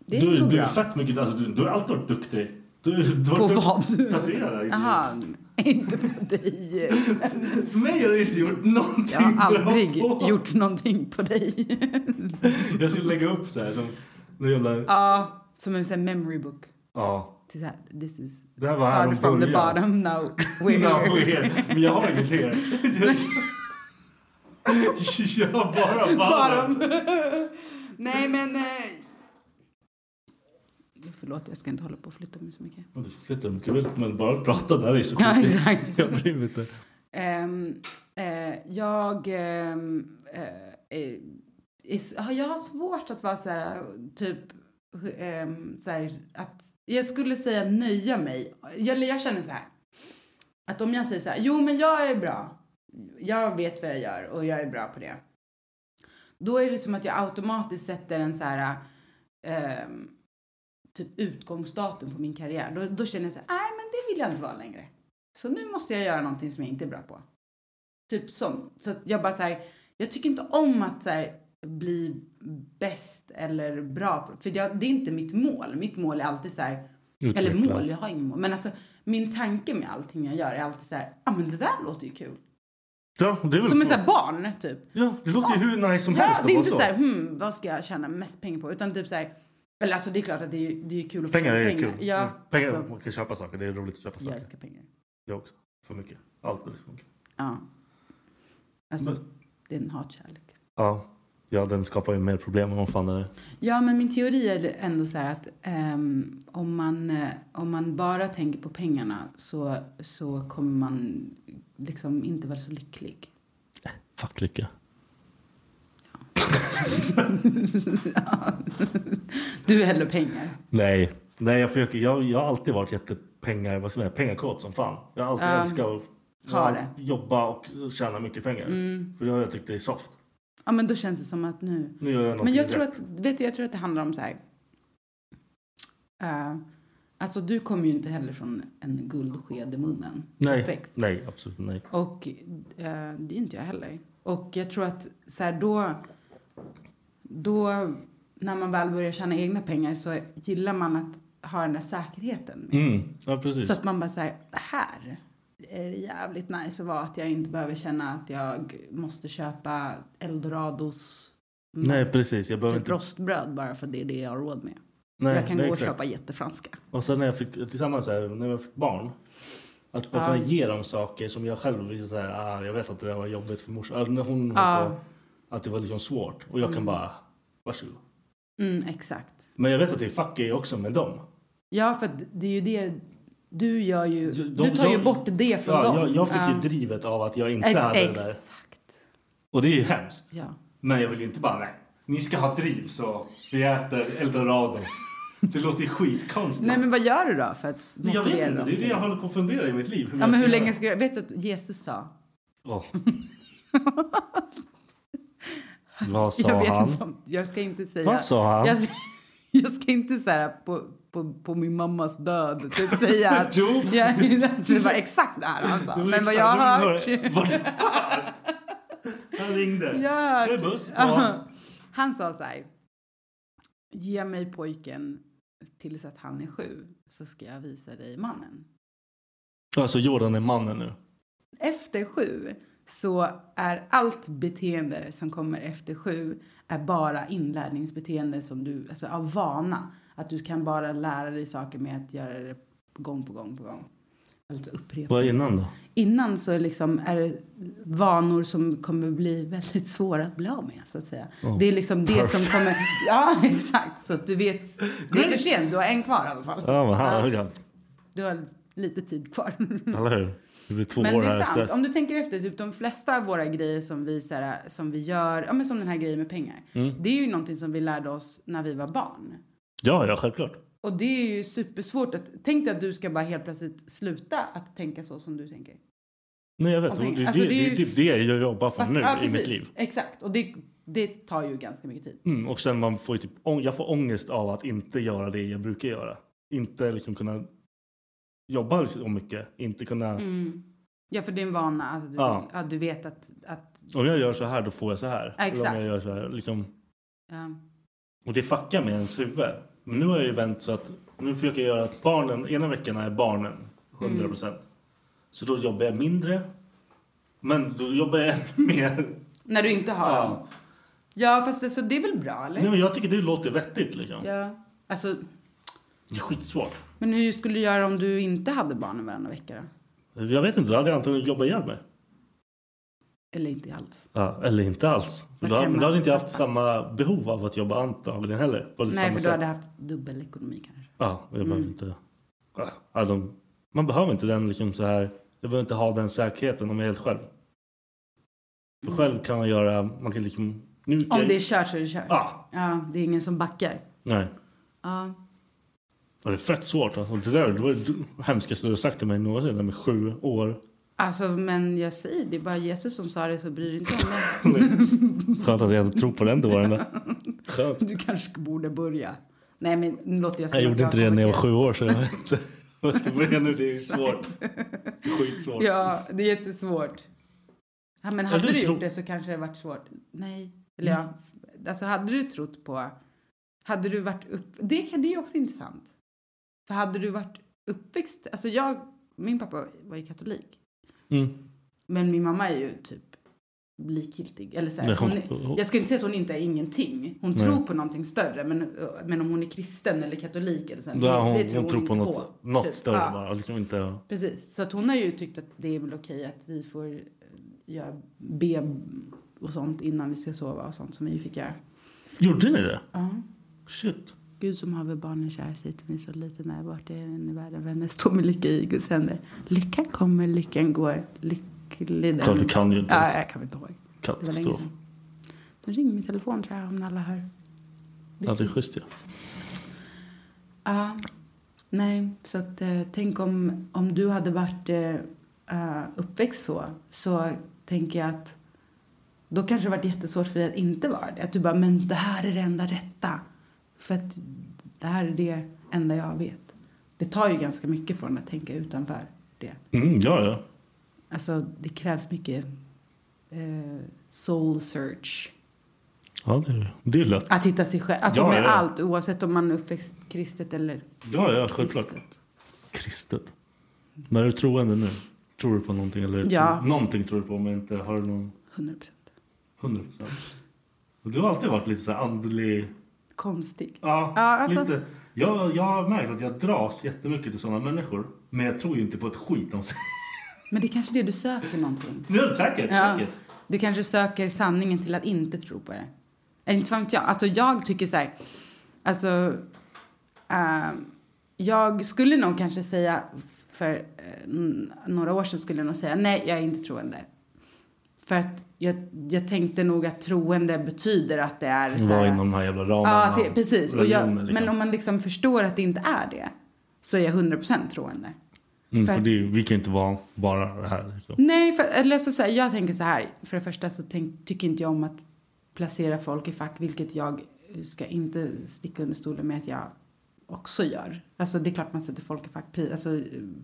F: Det
G: du
F: går
G: har
F: bra.
G: blivit fett mycket... Alltså, du, du har alltid varit duktig. Du, du har
F: På
G: varit
F: vad?
G: duktig- Tatuerare.
F: Jaha, inte på dig.
G: För mig har du inte gjort någonting
F: Jag har
G: bra
F: aldrig
G: på.
F: gjort någonting på dig.
G: Jag skulle lägga upp så här som... någon Jävla...
F: Ja, som en sån här memory book.
G: Ja.
F: Till Så här, this is...
G: Det här var här
F: Started
G: de
F: from the
G: började.
F: bottom, now we're
G: No, we're
F: here.
G: here. Men jag har inget here. Jag har bara bara.
F: Bottom. Nej, men... Eh... Förlåt, jag ska inte hålla på och flytta mig så mycket.
G: Du får flytta hur mycket du vill, men bara att prata där är så
F: Ja,
G: skitigt.
F: exakt.
G: Jag bryr mig inte.
F: Ehm, eh, jag... ehm, eh, eh, is, ja, jag har svårt att vara så här, typ... ehm, så här, att, jag skulle säga nöja mig. Eller jag känner så här. Att om jag säger så här, jo men jag är bra. Jag vet vad jag gör och jag är bra på det. Då är det som att jag automatiskt sätter en så här... ehm, typ utgångsdatum på min karriär. Då, då känner jag så här, nej men det vill jag inte vara längre. Så nu måste jag göra någonting som jag inte är bra på. Typ som. Så att jag bara så här, jag tycker inte om att så här, bli bäst eller bra på, för jag, det är inte mitt mål. Mitt mål är alltid så här, eller
G: Utvecklas.
F: mål, jag har inget mål. Men alltså min tanke med allting jag gör är alltid så här, ja ah, men det där låter ju kul.
G: Ja, det är väl...
F: Som en så här barn typ.
G: Ja, det låter ju hur nice som
F: Ja,
G: helst att
F: det är
G: vara
F: inte så här, hmm, vad ska jag tjäna mest pengar på? Utan typ så här, eller alltså det är klart att det är, ju- det är ju kul att få
G: Pengar
F: tjäna
G: är kul.
F: Ja,
G: Mm. pengar,
F: alltså,
G: man kan köpa saker. Det är roligt att köpa
F: jag
G: saker.
F: älskar pengar.
G: Jag också. För mycket. Allt är liksom mycket.
F: Ja. Alltså,
G: Men-
F: det är en hatkärlek.
G: Ja. Ja, den skapar ju mer problem än vad fan det är.
F: Ja, men min teori är ändå så här att ehm, om, man, eh, om man bara tänker på pengarna så, så kommer man liksom inte vara så lycklig.
G: Fuck lycka.
F: Ja. du är hellre pengar.
G: Nej. Nej, jag försöker. Jag, jag har alltid varit jättepengar, vad som är, pengakåt som fan. Jag har alltid
F: Ja.
G: älskat att
F: Ha
G: ja,
F: det. Mm.
G: jobba och tjäna mycket pengar. För det har jag tyckt det är soft.
F: Ja, men då känns det som att nu...
G: Nu gör jag något
F: Men jag tror, att, vet du, jag tror att det handlar om så här... eh, alltså, du kommer ju inte heller från en guldsked i munnen.
G: Nej,
F: uppväxt.
G: nej, absolut nej.
F: Och eh, det är inte jag heller. Och jag tror att så här, då, då när man väl börjar tjäna egna pengar så gillar man att ha den där säkerheten.
G: Mm. Ja, precis.
F: Så att man bara så här, här är det jävligt nice att vara. Att jag inte behöver känna att jag måste köpa eldorados
G: nej, precis. Jag behöver
F: typ
G: inte...
F: rostbröd bara för det är det jag har råd med.
G: Nej,
F: jag kan
G: nej,
F: gå och
G: exakt.
F: köpa jättefranska.
G: Och sen när jag fick, tillsammans så här, när jag fick barn. Att man
F: Ja.
G: kan ge dem saker som jag själv visste så här, ah, jag vet att det där var jobbigt för morsan. Eller när hon höll
F: Ja.
G: på, att det var liksom svårt. Och jag kan bara, varsågod.
F: Mm, exakt.
G: Men jag vet att det är fuck är också med dem.
F: Ja, för att det är ju det du gör ju.
G: De-
F: du tar ju
G: de-
F: bort det från
G: ja,
F: dem.
G: Jag, jag fick
F: Ja.
G: ju drivet av att jag inte
F: Ett-
G: hade det där.
F: Exakt.
G: Och det är ju hemskt.
F: Ja.
G: Men jag vill ju inte bara, nej. Ni ska ha driv så vi äter eldorado. Det låter ju skitkonstigt.
F: Nej, men vad gör du då för att
G: Men jag vet
F: motivera
G: inte,
F: dem?
G: det är det jag håller på att fundera i mitt liv.
F: Ja, men hur länge ska jag... Vet du att Jesus sa?
G: Oh. Vad sa
F: jag vet
G: han?
F: inte om... Jag ska inte säga...
G: Vad sa han?
F: Jag, jag ska inte så här på, på, på min mammas död typ säga att...
G: Jo.
F: jag, att det var exakt det här han sa.
G: Det var
F: Men vad
G: exakt-
F: jag har hört...
G: det var- vad du har hört. Han ringde.
F: Jag har
G: Det är
F: hört.
G: buss på.
F: Ja. Han sa så här. Ge mig pojken tills att han är sju. så ska jag visa dig mannen.
G: Alltså Jordan är mannen nu.
F: Efter sju så är allt beteende som kommer efter sju är bara inlärningsbeteende som du, alltså av vana. Att du kan bara lära dig saker med att göra det gång på gång på gång. Alltså upprepa.
G: Vad är innan då?
F: Innan så är liksom, är det vanor som kommer bli väldigt svåra att bli av med. Så att säga.
G: Oh,
F: Det är liksom det som kommer... Ja, exakt. Så att du vet. Det är för sent. Du har en kvar i alla fall.
G: Ja, men han,
F: Ja,
G: ja.
F: Du har lite tid kvar.
G: Eller hur? Det blir två
F: Men
G: år
F: det är
G: här
F: sant.
G: efter.
F: Om du tänker efter, typ de flesta av våra grejer som vi, så här, som vi gör, ja, men som den här grejen med pengar.
G: Mm.
F: Det är ju någonting som vi lärde oss när vi var barn.
G: Ja, ja, självklart.
F: Och det är ju supersvårt att, tänk dig att du ska bara helt plötsligt sluta att tänka så som du tänker.
G: Nej, jag vet.
F: Om
G: Det,
F: pengar.
G: det,
F: Alltså,
G: det,
F: det är ju
G: är typ det jag jobbar på
F: Fuck-
G: nu
F: ja,
G: i mitt
F: precis.
G: liv.
F: Exakt, och det, det tar ju ganska mycket tid.
G: Mm, och sen man får ju typ, ång- jag får ångest av att inte göra det jag brukar göra. Inte liksom kunna jobba liksom så mycket. Inte kunna...
F: Mm. Ja, för det är en vana. Alltså, du,
G: Ja.
F: ja. du vet att... att
G: Om jag gör så här, då får jag så här.
F: Ja,
G: Eller om
F: exakt.
G: jag gör så här, liksom...
F: ja.
G: Och det fuckar med ens huvud. Men nu har jag ju vänt så att nu försöker jag göra att barnen, ena veckan är
F: Mm.
G: barnen 100 procent. Så då jobbar jag mindre. Men då jobbar jag ännu mer.
F: När du inte har
G: Ja.
F: dem. Ja, fast det, så det är väl bra, eller?
G: Nej, men jag tycker det låter vettigt liksom.
F: Ja. Alltså,
G: Det är skitsvårt.
F: men hur skulle du göra om du inte hade barnen varannan vecka då?
G: Jag vet inte, då hade jag antagligen jobbat ihjäl mig.
F: Eller inte alls.
G: Ja, eller inte alls. För då,
F: Vart hemma.
G: då hade inte jag haft samma behov av att jobba antagligen heller. På det
F: Nej,
G: samma
F: för du
G: sätt.
F: hade Mm. haft dubbel ekonomi kanske.
G: Ja, och jag behöver inte... Ja, de, man behöver inte den liksom så här... Jag behöver inte ha den säkerheten om jag är helt själv. För själv kan man göra... Man kan liksom... Nu,
F: Om det är kört så är det kört.
G: Ja.
F: Ja, det är ingen som backar.
G: Nej.
F: Ja.
G: Ja, Det är fett svårt. Alltså. Det där det var det hemskaste du har sagt till mig någonsin. Det där med sju år.
F: Alltså, men jag säger det är bara Jesus som sa det så bryr dig inte om det.
G: Skönt att jag inte tror på den då. Den där. Skönt.
F: Du kanske borde börja. Nej, men nu låter Alltså, jag som att
G: Jag gjorde inte det när jag var
F: konverterat.
G: sju år så jag vet inte. Vad ska jag börja nu? Det är svårt. Det är Skitsvårt.
F: Ja, det är jättesvårt. Ja, men
G: Ja,
F: hade
G: du
F: du,
G: tror-
F: gjort det så kanske det hade varit svårt. Nej. Eller ja, f- alltså hade du trott på... Hade du varit upp... Det, kan- det är också intressant. För hade du varit uppväxt... Alltså jag... Min pappa var ju katolik.
G: Mm.
F: Men min mamma är ju typ likgiltig. Eller så här,
G: Nej, hon-
F: hon, är- jag skulle inte säga att hon inte är ingenting. Hon tror på någonting större. Men, men om hon är kristen eller katolik eller så, här,
G: Ja,
F: det,
G: hon,
F: det tror
G: hon tror på
F: inte
G: något, något
F: Typ,
G: större
F: ja.
G: bara. Liksom inte...
F: Precis, så att hon har ju tyckt att det är väl okej att vi får eh, göra be och sånt innan vi ska sova och sånt som vi fick göra.
G: Gjorde ni det?
F: Ja.
G: Shit.
F: Gud som haver barnen kär sig till mig så liten är bort det än i världen vänner står med lycka i Guds händer. Lyckan kommer, lyckan går, lycklig
G: Ja, du kan ju inte
F: Ja,
G: ens.
F: jag kommer inte ihåg. Det var länge
G: Katastrof.
F: sedan. De ringer min telefon tror jag om alla hör.
G: Ja, det är schysst ja.
F: Ja, nej, så att, eh, tänk om, om du hade varit eh, eh, uppväxt så, så tänker jag att då kanske det varit jättesvårt för dig att inte vara det. Att du bara, men det här är det enda rätta. För att det här är det enda jag vet. Det tar ju ganska mycket från att tänka utanför det.
G: Mm, ja, ja.
F: Alltså, det krävs mycket eh, soul search.
G: Ja, det är, det är lätt.
F: Att hitta sig själv. Alltså
G: Ja,
F: med
G: ja.
F: allt, oavsett om man är uppväxt kristet eller
G: Ja, ja, självklart.
F: kristet.
G: Kristet. Men är du troende nu? Tror du på någonting? Eller
F: Ja.
G: tror, någonting tror du på, men inte har du någon
F: 100 procent.
G: 100 procent? Du har alltid varit lite så här andlig.
F: Konstig.
G: Ja,
F: Ja, alltså-
G: lite. Jag, jag har märkt att jag dras jättemycket till sådana människor. Men jag tror ju inte på ett skit om sig.
F: Men det är kanske det du söker någonting.
G: Ja, säkert, säkert.
F: Du kanske söker sanningen till att inte tro på det. Eller Inte fan vet jag. Alltså jag tycker så här. Alltså. ehm, jag skulle nog kanske säga för eh, n- några år sedan skulle jag nog säga nej, jag är inte troende. För att jag, jag tänkte nog att troende betyder att det är så
G: Var
F: här,
G: inom de här jävla ramarna.
F: Ja, det, precis. Och jag,
G: religionen, liksom.
F: Men om man liksom förstår att det inte är det så är jag 100% troende.
G: mm,
F: för
G: för
F: att-
G: det, är- vi kan ju inte vara bara det här. Liksom.
F: Nej, för, eller så, så här, jag tänker så här. För det första så tänk, tycker inte jag om att placera folk i fack, vilket jag ska inte sticka under stolen med att jag också gör. Alltså det är klart man sätter folk i fack, pri- alltså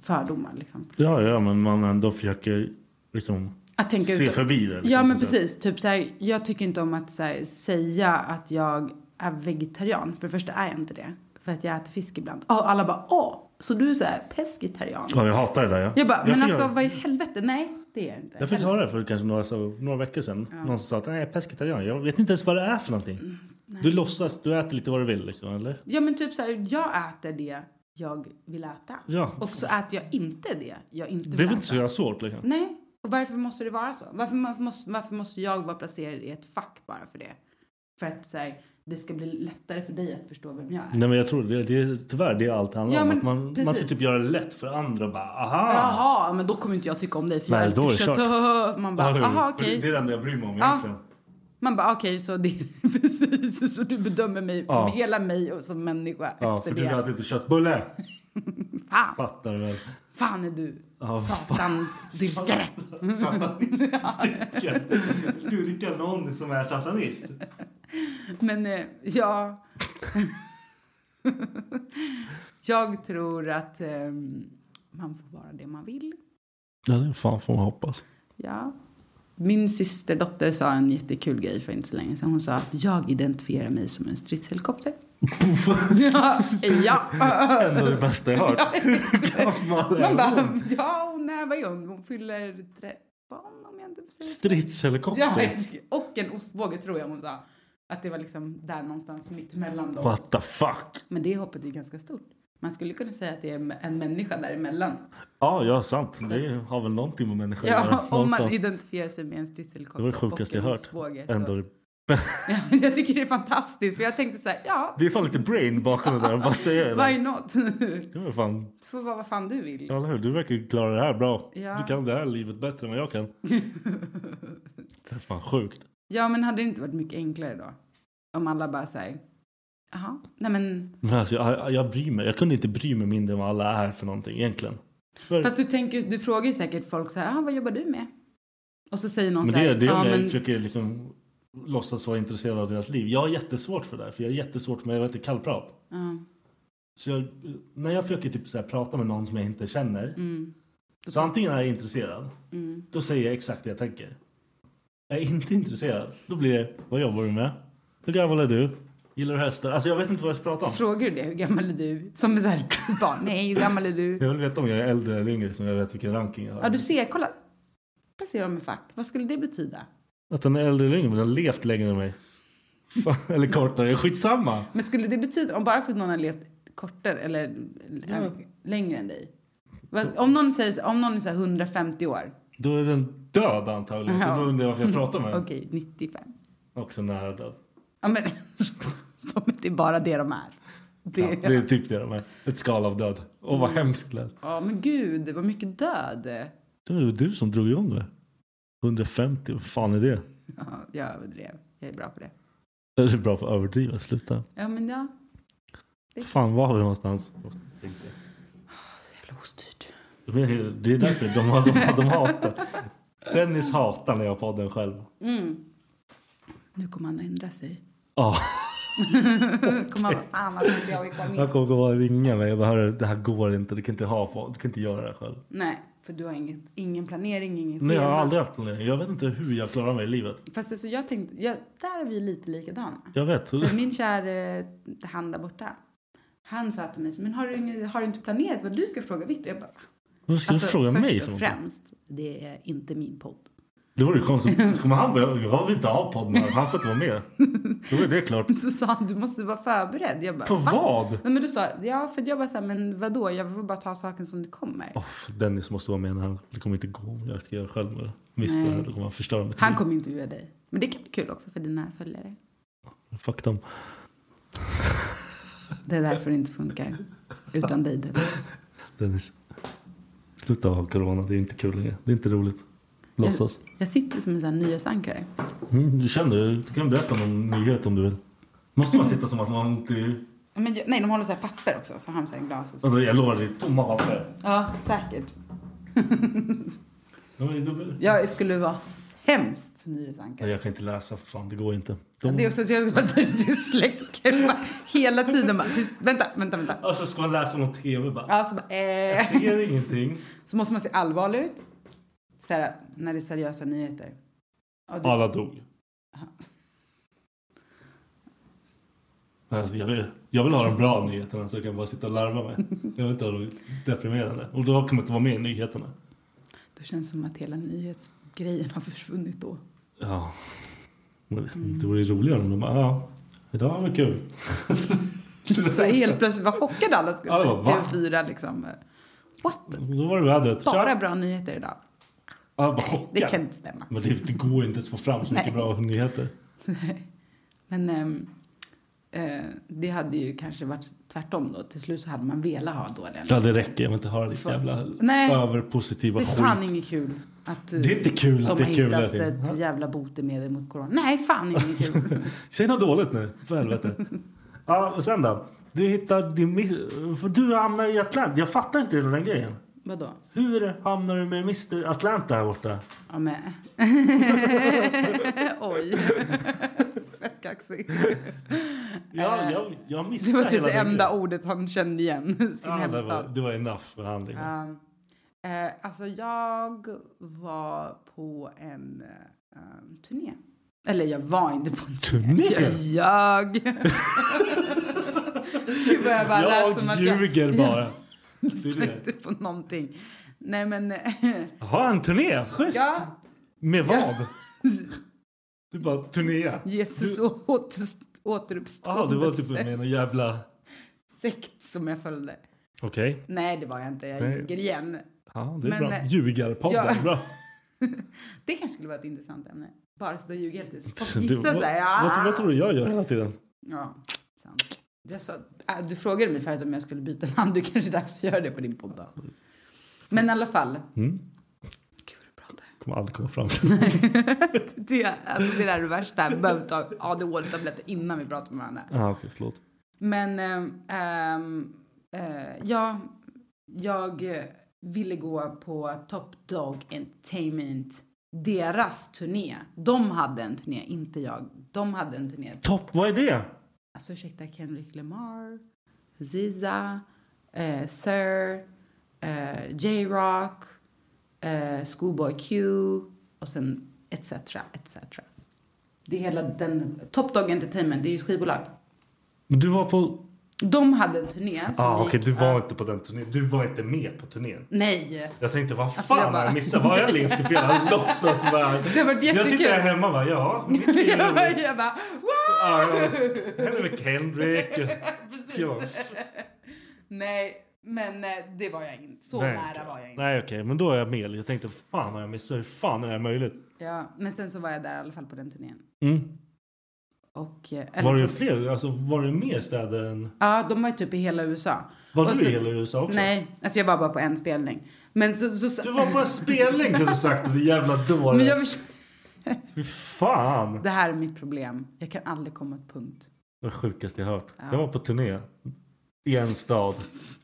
F: fördomar liksom.
G: Ja, ja, men man ändå försöker liksom
F: Att tänka
G: se
F: ut-
G: förbi det. Liksom,
F: Ja, men
G: på sätt.
F: precis. Typ så här, jag tycker inte om att så här, säga att jag är vegetarian. För det första är jag inte det. För att jag äter fisk ibland. Och alla bara åh, Så du är så här pescetarian.
G: Ja, jag hatar det där. Ja.
F: Jag bara, men
G: fick
F: alltså
G: höra-
F: vad i helvete, nej det är jag inte.
G: jag fick
F: Heller.
G: höra det för kanske några, så, några veckor sedan. Någon som sa att nej, pescetarian. Jag vet inte ens vad det är för någonting.
F: Mm,
G: du låtsas, du äter lite vad du vill liksom, eller?
F: Ja men typ så här, jag äter det jag vill äta.
G: Ja.
F: Och så äter jag inte det jag inte
G: Det
F: vill
G: är väl
F: äta.
G: inte så jävla svårt liksom.
F: Nej, och varför måste det vara så? Varför, varför, måste, varför måste jag vara placerad i ett fack bara för det? För att så här, det ska bli lättare för dig att förstå vem jag är.
G: Nej men jag tror det, det är tyvärr det allt handlar
F: Ja,
G: om.
F: men
G: Att man, man ska
F: precis.
G: typ göra det lätt för andra bara aha.
F: Jaha, men då kommer inte jag tycka om dig för
G: Nej,
F: jag
G: då är
F: älskar
G: det
F: kött. Man bara,
G: Ja, det-
F: aha
G: för
F: okej.
G: Det är det enda jag bryr mig om
F: Ja.
G: egentligen.
F: Man bara, okej så det är precis så du bedömer mig, hela mig och som människa
G: Ja, för
F: efter
G: du
F: det.
G: äter inte köttbulle.
F: Fan,
G: Fattar du väl?
F: fan är du
G: Ja,
F: satans dyrkare.
G: Satanist. Dyrkar. Dyrkar någon som är satanist.
F: Men eh, ja... jag tror att eh, man får vara det man vill.
G: Ja det fan får man hoppas.
F: Ja. Min systerdotter sa en jättekul grej för inte så länge sedan. Hon sa jag identifierar mig som en stridshelikopter. ja, ja.
G: Ändå det bästa jag hört.
F: Man bara, ja hon är, vad är hon? Hon fyller 13 om jag inte säger fel. Ja,
G: Stridshelikopter.
F: jag tycker- och en ostbåge tror jag hon sa. Att det var liksom där någonstans mitt emellan dem.
G: What the fuck.
F: Men det hoppet är ganska stort. Man skulle kunna säga att det är en människa däremellan.
G: Ja, ja sant. Det har väl någonting med människor att göra.
F: Ja, om man
G: någonstans.
F: identifierar sig med en
G: Det
F: stridshelikopter
G: var det sjukaste jag
F: och en
G: hört.
F: ostbåge. så-
G: Ändå det
F: Ja, jag tycker det är fantastiskt för jag tänkte så här, ja,
G: Det är fan lite brain bakom det där. Vad säger jag?
F: why
G: Det
F: not?
G: Det var fan
F: Du får vara vad fan du vill.
G: Ja, eller hur? Du verkar ju klara det här bra.
F: Ja.
G: Du kan det här livet bättre än vad jag kan. Det är fan sjukt.
F: Ja, men hade det inte varit mycket enklare då? Om alla bara säger, jaha, nej men.
G: Men alltså, jag, jag bryr mig. Jag kunde inte bry mig mindre än vad alla är för någonting egentligen. För,
F: Fast du tänker, ju- du frågar ju säkert folk så här, ah, vad jobbar du med? Och så säger någon
G: men
F: så
G: det
F: här,
G: är det
F: ja,
G: om jag
F: men,
G: försöker liksom låtsas vara intresserad av deras liv. Jag har jättesvårt för det här, för jag är jättesvårt med, jag vet inte, kallprat.
F: ja,
G: Så jag, när jag försöker typ så här, prata med någon som jag inte känner.
F: mm,
G: Så antingen är jag intresserad,
F: mm,
G: då säger jag exakt det jag tänker. Är jag inte intresserad, då blir det, vad jobbar du med? Hur gammal är du? Gillar du hästar? Alltså jag vet inte vad jag ska prata om.
F: Frågar du det, hur gammal är du? Som är så här, barn, nej, hur gammal är du?
G: Jag vill veta om jag är äldre eller yngre så jag vet vilken ranking jag har.
F: Ja, du ser, kolla. Placera dem i fack. Vad skulle det betyda?
G: Att den är äldre eller yngre men den har levt längre än mig. Fan, eller kortare, skitsamma.
F: Men skulle det betyda, om bara för att någon har levt kortare eller eh,
G: Ja.
F: längre än dig. Vad- Om någon, säger, så- om någon är så här 150 år,
G: Då är den död antagligen. Så
F: Ja.
G: då undrar jag varför jag pratar med den.
F: okej 95.
G: Också nära död.
F: Ja men, de, det är bara det de är. Det, Mm. ja,
G: Ja, det är typ det de är. Ett skal av död. Åh vad hemskt det lät.
F: men gud, vad mycket död.
G: Det var du som drog igång det. 150, vad fan är det?
F: Ja, jag överdrev, jag är bra på det.
G: Det är bra för att överdriva, sluta.
F: Ja men ja,
G: Fan var har vi någonstans?
F: så jävla ostyrt.
G: Men Det är därför de, de, de, de hatar. Dennis hatar när jag har podden själv.
F: Mm. Nu kommer han ändra sig.
G: Ja.
F: kommer han bara, fan vad trodde jag vi kom in.
G: Han kommer gå och ringa mig och bara "Hörru, det här går inte, du kan inte ha på, du kan inte göra det här själv.
F: Nej, för du har inget, ingen planering, ingen
G: Nej jag har aldrig haft planering, jag vet inte hur jag klarar mig i livet.
F: Fast alltså jag tänkte, jag, där är vi lite likadana.
G: Jag vet.
F: För min kära eh, han där borta, han sa till mig, men har du, ingen- har du inte planerat vad du ska fråga Victor? Jag bara, va?
G: Vad ska du fråga
F: Alltså, först
G: mig för
F: och
G: någonting?
F: främst, det är inte min podd.
G: Det vore ju konstigt, så kommer han börja, jag vill inte ha podden här, han får inte vara med. Då är det klart.
F: Så sa han, du måste vara förberedd. Jag bara,
G: På
F: va?
G: vad?
F: Nej men du sa, ja för jag bara såhär, men vadå, jag får bara ta saken som det kommer.
G: Åh, Dennis måste vara med när han, det kommer inte gå om jag ska göra själv med det. Visst,
F: Nej.
G: då kommer han förstöra mitt
F: Han kommer intervjua dig. Men det kan bli kul också för dina följare.
G: liv. Fuck dem.
F: Det är därför det inte funkar. Utan dig Dennis.
G: Dennis, sluta ha corona, det är inte kul längre. Det är inte roligt. Låtsas.
F: Jag sitter som en sån här nyhetsankare.
G: Mm, du känner, du kan berätta om en nyhet om du vill. Måste man sitta som att man har ont i...
F: Ja, Men jag, nej, de håller så här papper också, så har de så här glas. och så.
G: Alltså, jag lovar, det är tomma papper.
F: Ja, säkert.
G: Ja, men då-
F: Jag skulle vara sämst
G: Nej,
F: nyhetsankare.
G: jag kan inte läsa för fan, det går inte.
F: Det är också att jag skulle vara dyslektiker bara hela tiden. Bara, vänta, vänta, vänta.
G: Alltså ska man läsa någon tv bara...
F: Ja, så, bara, eh.
G: Jag ser ingenting.
F: så måste man se allvarlig ut. Så här, när det är seriösa nyheter. Ja, du-
G: Alla dog. Alltså, jag, vill, jag vill ha de bra nyheterna så jag kan bara sitta och larva mig. Jag vill inte ha de deprimerande. Och då kommer jag inte vara med i nyheterna.
F: Det känns som att hela nyhetsgrejen har försvunnit då.
G: Ja. Men Det vore ju roligare om de bara, ja, idag var det kul.
F: Så helt plötsligt var chockade alla skulle
G: Ja, det var, va?
F: TV4 liksom. What?
G: Då var det vädret.
F: Bara
G: Tja.
F: bra nyheter idag.
G: Ja, bara chockad.
F: Det kan inte stämma.
G: Men det, det går ju inte ens att få fram så mycket
F: Nej.
G: bra nyheter.
F: Men ehm, eh, det hade ju kanske varit tvärtom då. Till slut så hade man velat ha dåliga
G: Ja, det räcker. Jag vill inte höra ditt
F: Fan.
G: jävla
F: Nej.
G: överpositiva
F: Det är
G: skit.
F: fan inget kul. Att, eh,
G: Det är inte kul
F: de
G: att det
F: har
G: är kul hela
F: hittat
G: tiden.
F: ett
G: Ja.
F: jävla botemedel mot corona. Nej, fan inget kul.
G: Säg något dåligt nu, för helvete. ja, och sen då? Du hittar din mis- för Du hamnar i Atlanta. Jag fattar inte hela den grejen.
F: Vadå?
G: Hur hamnar du med Mr Atlanta här borta?
F: Ja, men... Oj. Fett kaxig.
G: Jag,
F: Eh,
G: jag, jag
F: Det
G: missar
F: var typ
G: hela
F: det
G: den
F: enda
G: grejen.
F: ordet han kände igen. Sin
G: Ja, det, var,
F: hemstad.
G: det var enough för handlingen.
F: Um, eh, alltså jag var på en eh, um, turné. Eller jag var inte på en turné.
G: Turné?
F: Jag ljög. Gud vad jag bara
G: jag
F: lät som att jag
G: ljuger bara. Det är
F: jag
G: det.
F: inte på någonting. Nej men eh,
G: Jaha, en turné? Schysst!
F: ja,
G: Med vad? Du bara turné?
F: Jesus
G: Du-
F: åter,
G: Ja,
F: återuppståndelse.
G: du var typ med en jävla...
F: Sekt som jag följde.
G: Okej.
F: Nej det var jag inte, jag
G: Nej.
F: ljuger igen.
G: Ja, det är
F: Men,
G: bra.
F: eh,
G: Ljugarpodden.
F: ja.
G: Bra.
F: Det kanske skulle vara ett intressant ämne. Bara sitta och ljuga hela tiden.
G: Så
F: Folk
G: du,
F: gissar
G: vad,
F: såhär. Ja.
G: vad, vad tror du jag gör hela tiden?
F: "Ah." Ja, sant. Jag sa, äh, du frågade mig förut om jag skulle byta namn. Du kanske är dags att göra det på din podd då. Men i alla fall. Gud vad du pratar.
G: Mm. Kommer aldrig komma fram till det.
F: Det, alltså, det där är det värsta. Behöver ta ADHD-tabletter innan vi pratar med varandra.
G: ah, okej, förlåt.
F: Men ehm, ehm, eh, ja, jag eh, ville gå på Top Dog Entertainment. Deras turné. De hade en turné, inte jag. De hade en turné.
G: Topp, vad är det?
F: Alltså ursäkta, Kendrick Lamar, Ziza, eh, Sir, eh, J-Rock, eh, Schoolboy Q och sen etc. etc. Det är hela den... Top Dog Entertainment, det är ju ett skivbolag.
G: Du var på...
F: De hade en turné som
G: ah, okej,
F: gick-
G: du var
F: ja.
G: inte på den turnén. Du var inte med på turnén.
F: Nej!
G: Jag tänkte, vad fan
F: Alltså, jag
G: har
F: bara-
G: jag missat? Vad har jag levt i fel? Jag låtsas bara.
F: Det har varit
G: Jag
F: jättekul.
G: sitter här hemma och bara, ja, mitt liv är
F: Jag bara,
G: roligt.
F: jag bara
G: Ja,
F: wow!
G: ja. Hellre med Kendrick.
F: Precis.
G: Ah, Ja.
F: Nej, men eh, det var jag inte. Så nära var jag inte.
G: Nej, okej, men då är jag med. Jag tänkte, fan har jag missat? Hur fan är det här möjligt?
F: Ja, men sen så var jag där i alla fall på den turnén.
G: Mm.
F: Och, eh, eller
G: Var det
F: på-
G: fler? Alltså, var det mer städer än...
F: Ja, de var ju typ i hela USA.
G: Var
F: Och
G: du
F: så-
G: i hela USA också?
F: Nej, alltså jag var bara på en spelning. Men så... så, så
G: Du var på en spelning kunde du sagt, det jävla dåre.
F: men jag, förs-
G: Fy fan!
F: det här är mitt problem. Jag kan aldrig komma till punkt.
G: Det var det sjukaste jag hört. Jag var på turné. I en stad.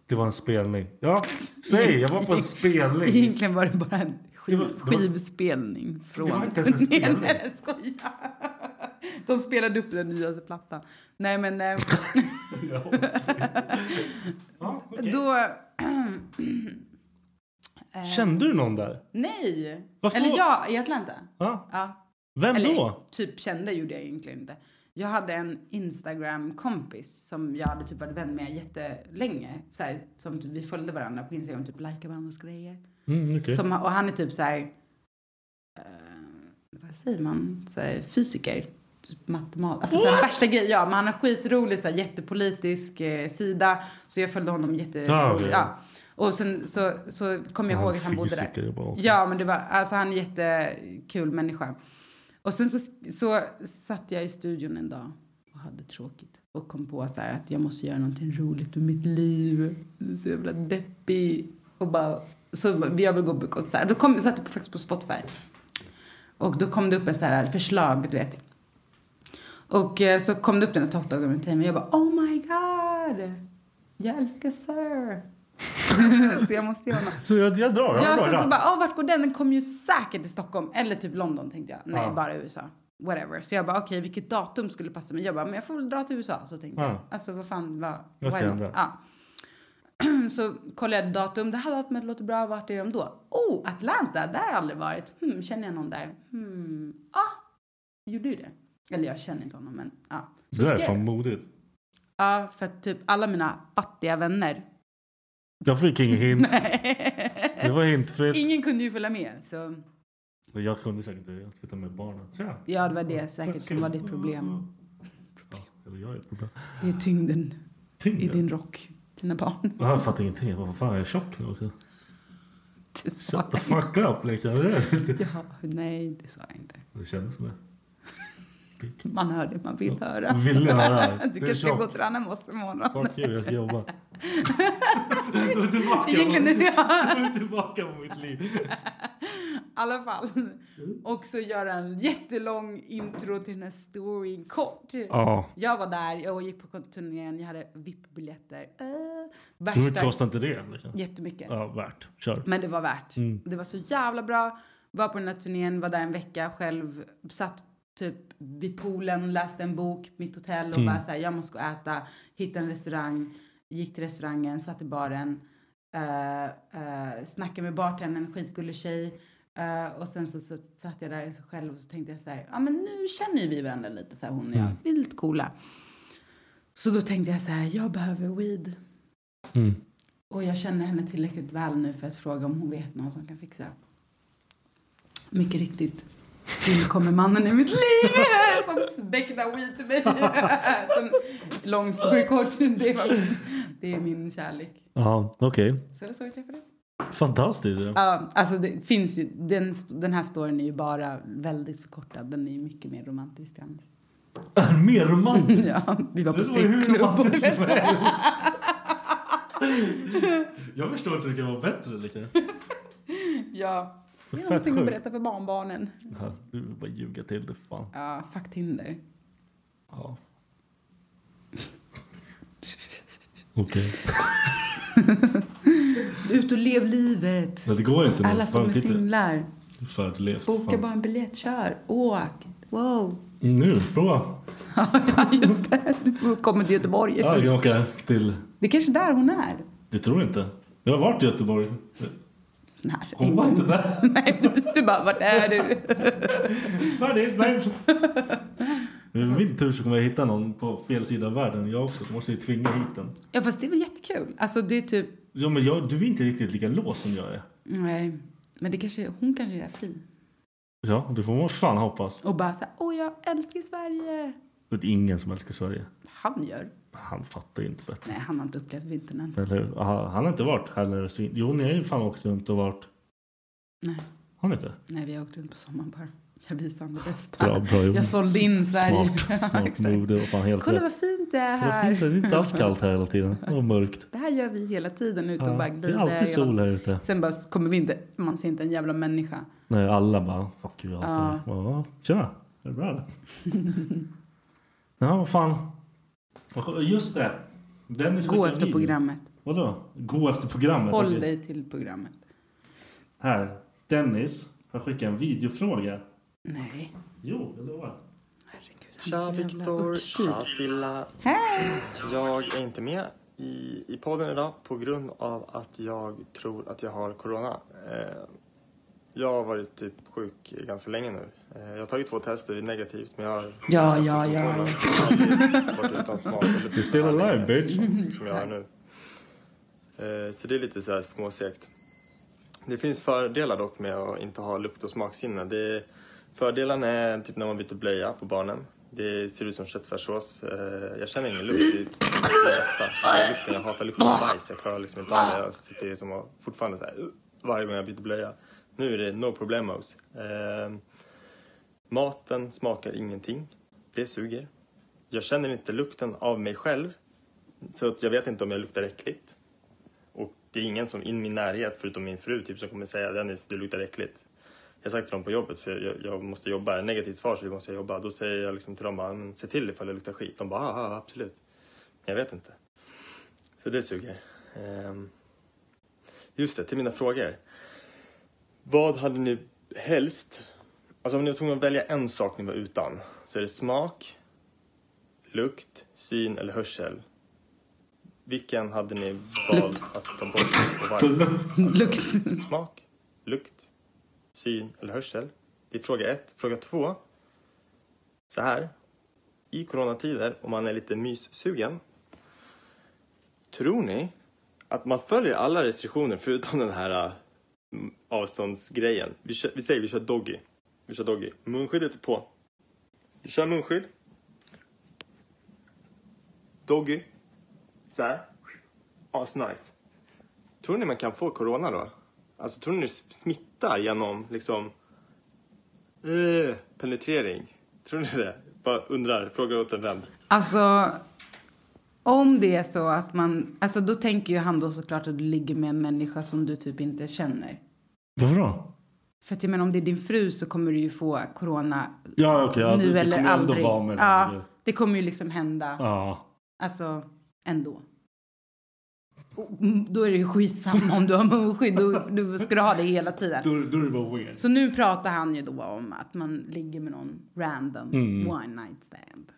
G: Det var en spelning. Ja, säg! Jag var på en spelning.
F: Egentligen var det bara en skiv,
G: Det var- det var-
F: skivspelning från
G: Det var inte ens en spelning.
F: Nej, jag skojar. De spelade upp den nyaste plattan. Nej, men... eh,
G: Ja, okej.
F: Då... Eh,
G: Kände du någon där?
F: Nej!
G: Varför?
F: Eller ja, i Atlanta.
G: Ja.
F: Ja.
G: Vem
F: Eller
G: då?
F: typ kände gjorde jag egentligen inte. Jag hade en Instagram-kompis som jag hade typ varit vän med jättelänge. Så här, som typ, vi följde varandra på Instagram, typ likade varandras grejer.
G: Mm, okej.
F: Som, och han är typ så här... eh, vad säger man? Så här, fysiker. Typ matematik. Alltså så här, värsta grejer. Ja, men han har skitrolig så här, jättepolitisk eh, sida. Så jag följde honom jätte...
G: Ja, Ah, okej.
F: ja. Och sen så, så kom jag
G: Han
F: ihåg att han bodde
G: fysiker,
F: där.
G: jag bara, okej.
F: Ja, men det var, alltså han är en jättekul människa. Och sen så, så satt jag i studion en dag och hade tråkigt och kom på så här att jag måste göra någonting roligt med mitt liv. Jag är Så jävla deppig. Och bara, så jag vill gå på konsert. Då kom, satt jag faktiskt på Spotify. Och då kom det upp en så här förslag, du vet. Och eh, så kom det upp den här toppdagen till mig och jag bara oh my god. Jag älskar Sir. så jag måste göra något.
G: Så jag, jag drar. Jag
F: Ja,
G: drar.
F: sen så bara, åh, vart går den? Den kommer ju säkert till Stockholm eller typ London tänkte jag. Nej,
G: Ja.
F: bara USA. Whatever. Så jag bara, okej, vilket datum skulle passa mig? Jag bara, men jag får väl dra till USA. Så tänkte
G: Ja.
F: jag. Alltså, vad fan, vad...
G: Vad ska
F: why not?
G: hända?
F: Ja. Så kollade jag datum. Det här datumet låter bra. Vart är de då? Oh, Atlanta. Där har jag aldrig varit. Hmm, känner jag någon där? Hmm. Ah, gjorde ju det. Eller jag känner inte honom, men ja. Så
G: Det där är
F: skrev
G: fan
F: jag.
G: modigt.
F: Ja, för att typ alla mina fattiga vänner.
G: Jag fick ingen hint. Det
F: Nej.
G: var hintfritt.
F: Ingen kunde ju följa med. Så
G: Men Jag kunde säkert det. Jag sitter med barnen. Tja.
F: ja, det var det säkert som var ditt problem.
G: Ja, eller jag är ett problem.
F: Det är tyngden i
G: Tyngden.
F: din rock. Dina barn.
G: Jag fattar ingenting. Jag bara, Vad fan, jag är tjock nu också.
F: Det sa
G: Shut the
F: jag.
G: fuck up liksom. Det-
F: Ja, nej, det sa jag inte.
G: Det kändes som det.
F: Man hör det man vill höra.
G: Vill jag höra.
F: Du kanske ska gå och träna med oss imorgon.
G: Fuck you, jag ska jobba. Jag är tillbaka
F: Egentligen är
G: på-
F: det...
G: jag är tillbaka på mitt liv.
F: I alla fall. Och så göra en jättelång intro till den här storyn kort.
G: Ja.
F: Jag var där, jag gick på turnén, jag hade VIP-biljetter. Eh,
G: Hur mycket
F: värsta...
G: kostar inte det? Liksom?
F: Jättemycket.
G: Ja, värt. Kör.
F: Men det var värt. Det var så jävla bra. Var på den här turnén, var där en vecka själv. Satt typ vid poolen, läste en bok, mitt hotell och bara så här, jag måste gå och äta. Hittade en restaurang, gick till restaurangen, satt i baren. Uh, uh, snackade med bartendern, en skitgullig tjej. Eh, och sen så, så satt jag där själv och så tänkte jag så här, ja men nu känner ju vi varandra lite så här hon och jag. Vi är lite coola. Så då tänkte jag så här, jag behöver weed. Och jag känner henne tillräckligt väl nu för att fråga om hon vet någon som kan fixa. Mycket riktigt. Nu kommer mannen i mitt liv som becknar weed till mig. Sen, long story kort, det var det är min kärlek.
G: Ja, okej.
F: Så det var så vi träffades.
G: Fantastiskt. Ja.
F: Ja, alltså det finns ju, den, st- den här storyn är ju bara väldigt förkortad. Den är ju mycket mer romantisk än hans.
G: Mer romantiskt.
F: Ja, vi var på
G: Det var ju hur
F: strippklubb.
G: romantiskt som helst. Jag förstår inte hur det kan vara bättre. Liksom.
F: Ja, det är
G: Fett
F: någonting att
G: sjukt.
F: berätta för barnbarnen.
G: Ja, du vill bara ljuga till det. Fan.
F: Ja, fuck Tinder.
G: Ja. Okej.
F: Ut och lev livet.
G: Men det går ju inte. nu.
F: Alla som
G: Fan,
F: är
G: titta.
F: singlar,
G: Förlevt.
F: boka
G: Fan.
F: bara en biljett, kör, åk. Wow.
G: Nu, bra.
F: Ja, just det. Du kommer till Göteborg.
G: Ja, jag kan åka till...
F: Det är kanske där hon är.
G: Det tror jag inte. Jag har varit i Göteborg.
F: Sån här,
G: Hon
F: en
G: var
F: gång.
G: inte där.
F: Nej, precis. du bara, vart är du?
G: Var det? Nej. Med min tur så kommer jag hitta någon på fel sida av världen. Jag också. Då måste jag ju tvinga hit den.
F: Ja, fast det är väl jättekul. Alltså, det är typ...
G: Ja, men jag, du är inte riktigt lika låst som jag är.
F: Nej, men det kanske, hon kanske är fri.
G: Ja, det får man fan hoppas.
F: Och bara så här, åh, jag älskar Sverige.
G: Det är ingen som älskar Sverige.
F: Han gör.
G: Han fattar ju inte bättre.
F: Nej, han har inte upplevt vintern än.
G: Eller hur? Han han har inte varit heller. svin- Jo, ni har ju fan åkt runt och varit...
F: Nej.
G: Har ni inte?
F: Nej, vi har åkt runt på sommaren bara. Jag visade honom det bästa.
G: Bra, bra gjort.
F: Jag sålde in Sverige.
G: Smart, smart
F: Exakt.
G: move. Det var fan helt
F: Kolla
G: rätt.
F: vad fint det är
G: Det var fint.
F: här.
G: Det är inte alls kallt här hela tiden. Och mörkt.
F: Det här gör vi hela tiden ute och
G: Ja,
F: bara
G: det är
F: glider.
G: alltid sol här ute.
F: Sen bara kommer vi inte, man ser inte en jävla människa.
G: Nej, alla bara fuck you allt det där. Ja, Tjena, är det bra eller? Ja, vad fan. Vad skö- Just det. Dennis
F: Gå
G: skickade
F: efter
G: video.
F: programmet.
G: Vadå? Gå efter programmet?
F: Håll
G: Okej.
F: dig till programmet.
G: Här. Dennis har skickat en videofråga.
F: Nej,
G: Jo, jag lovar.
F: herregud. Han är så jävla uppstyrd.
D: Frilla.
F: Hej!
D: Jag är inte med i, i podden idag på grund av att jag tror att jag har corona. Eh, jag har varit typ sjuk ganska länge nu. Eh, jag har tagit två tester, det är negativt men jag har...
F: Ja, ja, ja.
D: Jag har varit utan smak.
G: You're still alive bitch.
D: som jag har nu. Eh, Så det är lite så här småsegt. Det finns fördelar dock med att inte ha lukt och smaksinne. Det, fördelen är typ när man byter blöja på barnen. Det ser ut som köttfärssås. Eh, Jag känner ingen lukt. Det är det bästa. Det är lukten. Jag hatar lukten av bajs. Jag klarar liksom inte av det. Jag sitter som och fortfarande så här, "Ugh", varje gång jag byter blöja. Nu är det no problemos. Eh, Maten smakar ingenting. Det suger. Jag känner inte lukten av mig själv. Så att jag vet inte om jag luktar äckligt. Och det är ingen som i min närhet, förutom min fru, typ, som kommer säga Dennis, du luktar äckligt. Jag har sagt till dem på jobbet, för jag, jag måste jobba, negativt svar så vi måste jobba. Då säger jag liksom till dem, bara, "Men se till ifall det luktar skit. De bara, aha, absolut. Men jag vet inte. Så det suger. Ehm. Just det, till mina frågor. Vad hade ni helst... Alltså om ni var tvungna att välja en sak ni var utan, så är det smak, lukt, syn eller hörsel. Vilken hade ni valt
F: Lukt.
D: att ta bort och varför?
F: Lukt.
D: Smak, lukt, syn eller hörsel? Det är fråga ett. Fråga två. Så här. I coronatider, om man är lite myssugen, Tror ni att man följer alla restriktioner förutom den här äh, m- avståndsgrejen? Vi, kör, vi säger vi kör doggy. Vi kör doggy. Munskyddet är på. Vi kör munskydd. Doggy. Så här. Asnice. Tror ni man kan få corona då? Alltså tror ni det smittar genom liksom eh, penetrering? Tror ni det? Bara undrar, frågar åt en vän.
F: Alltså, om det är så att man... Alltså då tänker ju han då såklart att du ligger med en människa som du typ inte känner.
G: Varför då?
F: För att jag menar, om det är din fru så kommer du ju få corona
G: Ja, okej. ja,
F: nu
G: du,
F: eller
G: du kommer
F: aldrig.
G: Ändå vara med
F: ja,
G: den.
F: det kommer ju liksom hända.
G: ja.
F: Alltså, ändå. Och, mm, Då är det ju skitsamma om du har munskydd. Då, då ska du ha det hela tiden.
G: Då, då är det bara weird.
F: Så nu pratar han ju då om att man ligger med någon random
G: Mm.
F: one night stand.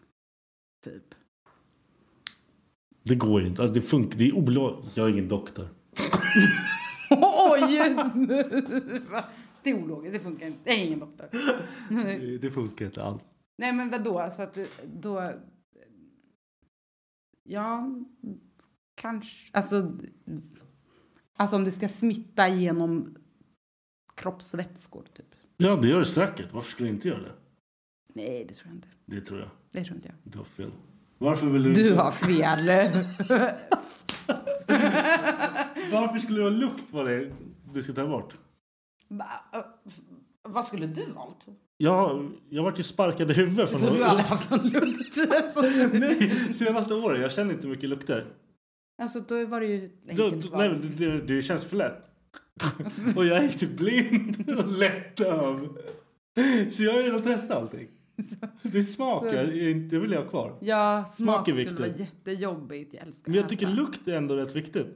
F: Typ.
G: Det går ju inte. Alltså, det funkar. Det är olagligt. Jag är ingen doktor.
F: Oj! det är ologiskt, det funkar inte. Jag är ingen doktor.
G: Det, det funkar inte alls.
F: Nej men vadå, så att eh, då... Ja, kanske... Alltså, alltså om det ska smitta genom kroppsvätskor typ.
G: Ja, det gör det säkert. Varför skulle jag inte göra det?
F: Nej, det tror jag inte.
G: Det tror jag.
F: Det tror inte jag.
G: Du har fel. Varför vill du,
F: Du
G: inte-
F: har fel.
G: Varför skulle det vara lukt vad det är du ska ta bort?
F: eh, Vad skulle du valt?
G: Jag, jag vart ju sparkad i huvudet
F: Så
G: från
F: du har aldrig haft någon lukt? Så du-
G: Nej, senaste åren. Jag känner inte mycket lukter.
F: Alltså då var det ju ett
G: Då,
F: enkelt
G: då, nej,
F: val.
G: men det, det, det känns för lätt. och jag är typ blind och lättöv. Så jag har redan testat allting. Det smakar,
F: så-
G: det vill jag ha kvar.
F: Ja, smak
G: Smak är
F: skulle vara
G: viktigt.
F: jättejobbigt. Jag älskar
G: Men jag
F: att
G: tycker
F: äta.
G: lukt är ändå rätt viktigt.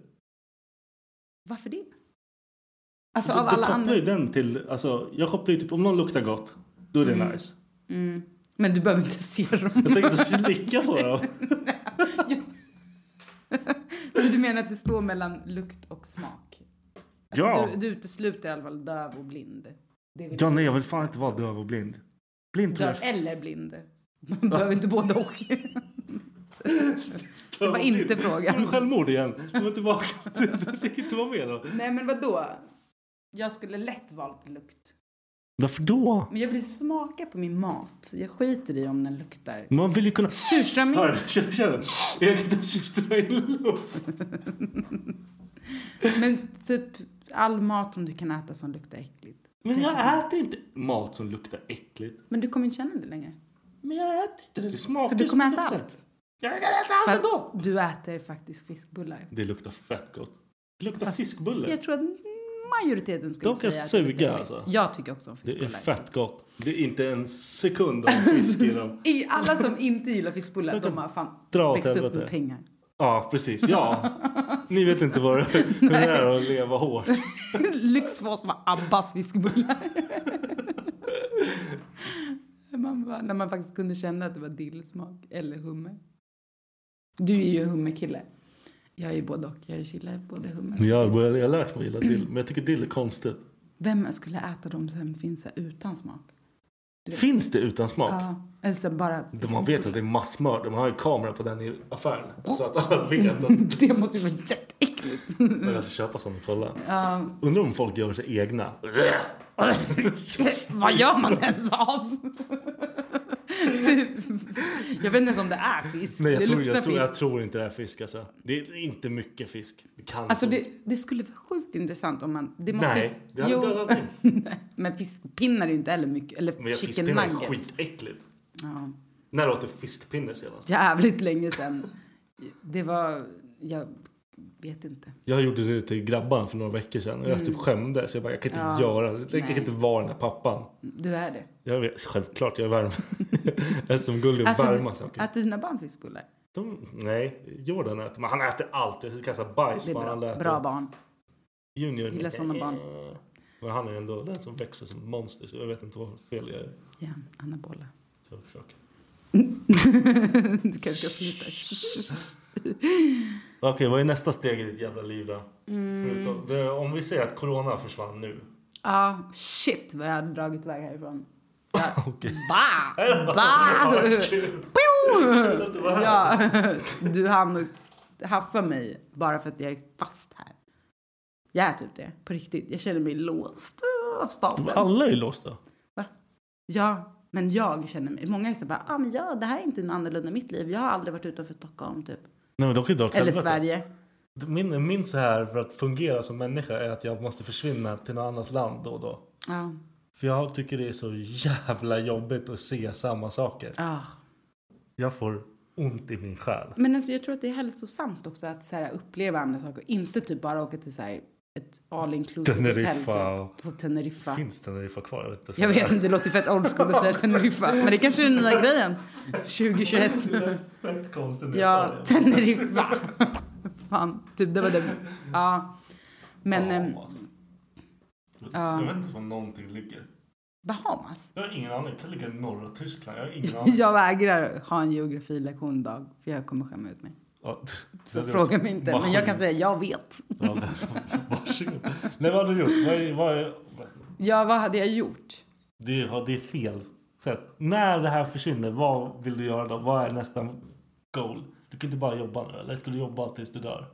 F: Varför det? Alltså
G: Du-
F: av
G: du
F: alla
G: kopplar
F: andra...
G: ju den till, alltså, jag kopplar ju typ om någon luktar gott, då är det nice.
F: Mm. Men du behöver inte se
G: Jag
F: dem.
G: tänker inte slicka på dem.
F: Så du menar att det står mellan lukt och smak? Alltså,
G: Ja.
F: du, du utesluter i alla fall döv och blind. Det vill
G: Ja,
F: du
G: nej, jag
F: inte.
G: vill fan inte vara döv och blind. Blind tror
F: Döv
G: jag
F: eller blind. Man behöver inte både och. Det var inte
G: Men
F: frågan.
G: Självmord igen. Jag var tillbaka. Jag tänker inte vara med då.
F: Nej men vadå? Jag skulle lätt valt lukt.
G: Varför då?
F: Men jag vill ju smaka på min mat. Jag skiter i om den luktar.
G: Man vill ju kunna...
F: Surströmming?
G: Mm. Hör, kör, kör. Jag kan inte ens dra in luft.
F: Men typ all mat som du kan äta som luktar äckligt.
G: Men jag äter inte mat som luktar äckligt.
F: Men du kommer inte känna det längre.
G: Men jag äter inte det. Det smakar
F: Så du
G: ju
F: kommer
G: som
F: äta
G: luktar.
F: allt?
G: Jag kan äta
F: Alltså
G: allt ändå.
F: Fast du äter faktiskt fiskbullar.
G: Det luktar fett gott. Det luktar
F: Fast
G: fiskbulle.
F: Jag tror att majoriteten skulle
G: De kan
F: säga att
G: suga,
F: det luktar äckligt.
G: alltså.
F: Jag tycker också om
G: Det är
F: fiskbullar. liksom.
G: fett gott. Det är inte en sekund av fisk i dem.
F: I alla som inte gillar fiskbullar,
G: Jag kan
F: de har fan
G: dra åt
F: växt upp
G: helvete.
F: med pengar.
G: Ja, precis. Ja. Ni vet inte vad det hur det är att leva hårt.
F: Lyxfors var Abbas fiskbullar. man bara, när man faktiskt kunde känna att det var dillsmak eller hummer. Du är ju hummerkille. Jag är ju både och. Jag gillar både hummer.
G: Jag har, börjat, jag har lärt mig att gilla dill, men jag tycker dill är konstigt.
F: Vem skulle äta dem som finns här utan smak?
G: Finns det utan smak?
F: Ja, eller så bara...
G: De- Man vet att det är massmörd. De har ju kamera på den i affären.
F: Oh.
G: Så att alla vet att
F: Det måste ju vara jätteäckligt.
G: Men jag ska köpa sån och kolla.
F: Ja.
G: Undrar om folk gör sig egna.
F: Vad gör man ens av? Typ, jag vet inte ens om det är fisk.
G: Nej, jag,
F: det
G: tror,
F: luktar
G: jag, tror, jag
F: fisk.
G: tror inte det är fisk alltså. Det är inte mycket fisk. Det kan
F: Alltså
G: inte.
F: det, det skulle vara sjukt intressant om man... Det måste,
G: Nej, det hade
F: Jo.
G: dödat allting.
F: Men fiskpinnar är ju inte heller mycket. Eller
G: Men jag
F: chicken
G: fiskpinnar är
F: nuggets.
G: skitäckligt.
F: Ja,
G: När åt du fiskpinne senast?
F: jävligt länge sedan. Det var... Jag vet inte.
G: Jag gjorde det till grabbarna för några veckor sedan och jag typ skämdes. Jag bara, jag kan inte göra det. Jag kan
F: Mm. Nej.
G: inte vara den här pappan.
F: Du är det.
G: Jag vet, självklart, jag är värme. jag är som gullig och värma saker.
F: äter dina barn fiskbullar?
G: De, nej, Jordan äter, men han äter allt. Jag kastar bajs
F: Det är
G: på han
F: bra,
G: äter.
F: bra barn.
G: Junior.
F: Gillar såna barn.
G: Men han är ändå den som växer som monster så jag vet inte vad fel jag är.
F: Ja, anabola.
G: Så jag försöker.
F: Du kanske ska sluta.
G: Okej, vad är nästa steg i ditt jävla liv då?
F: Mm.
G: Förutom, det, om vi säger att corona försvann nu.
F: Ja, shit vad jag hade dragit iväg härifrån.
G: Okej.
F: Ba! Ba!
G: Kul
F: Pew!
G: att du var här.
F: Ja, du hann och haffa mig bara för att jag är fast här. Jag är typ det, på riktigt. Jag känner mig låst av staten.
G: Alla är låsta.
F: Va? Ja, men jag känner mig... Många är så bara, ah, men ja, det här är inte en annorlunda mitt liv. Jag har aldrig varit utanför Stockholm, typ.
G: Nej, men de kan ju dra åt
F: Eller
G: helvete.
F: Sverige.
G: Min, min så här för att fungera som människa är att jag måste försvinna till något annat land då och då.
F: Ja.
G: För jag tycker det är så jävla jobbigt att se samma saker.
F: Ah.
G: Jag får ont i min själ.
F: Men alltså, jag tror att det är hälsosamt också att så här, uppleva andra saker. Inte typ bara åka till så här, ett all inclusive
G: Teneriffa
F: hotell
G: och-
F: typ, på Teneriffa.
G: Finns den där kvar? Jag vet inte.
F: Jag vet inte, det låter fett old school att säga Teneriffa. Men det kanske är den nya grejen. 2021.
G: Fett konstigt när jag
F: Ja,
G: sa det.
F: Teneriffa. Fan, typ det var det. Ja. Men ehm,
G: Bahamas.
F: ja.
G: Jag vet inte var någonting ligger.
F: Bahamas?
G: Jag har ingen aning. Det kan ligga i norra Tyskland. Jag har ingen aning.
F: Jag vägrar ha en geografilektion dag för jag kommer skämma ut mig.
G: Ja,
F: Så
G: det hade
F: fråga
G: varit-
F: mig inte. Men jag kan säga jag vet.
G: Ja, men- Varsågod. Nej, vad har du gjort? Vad är, vad är,
F: Ja, vad hade jag gjort?
G: det, är, det är fel sätt. När det här försvinner, vad vill du göra då? Vad är nästa goal? Du kan inte bara jobba nu, eller? Ska du jobba tills du dör?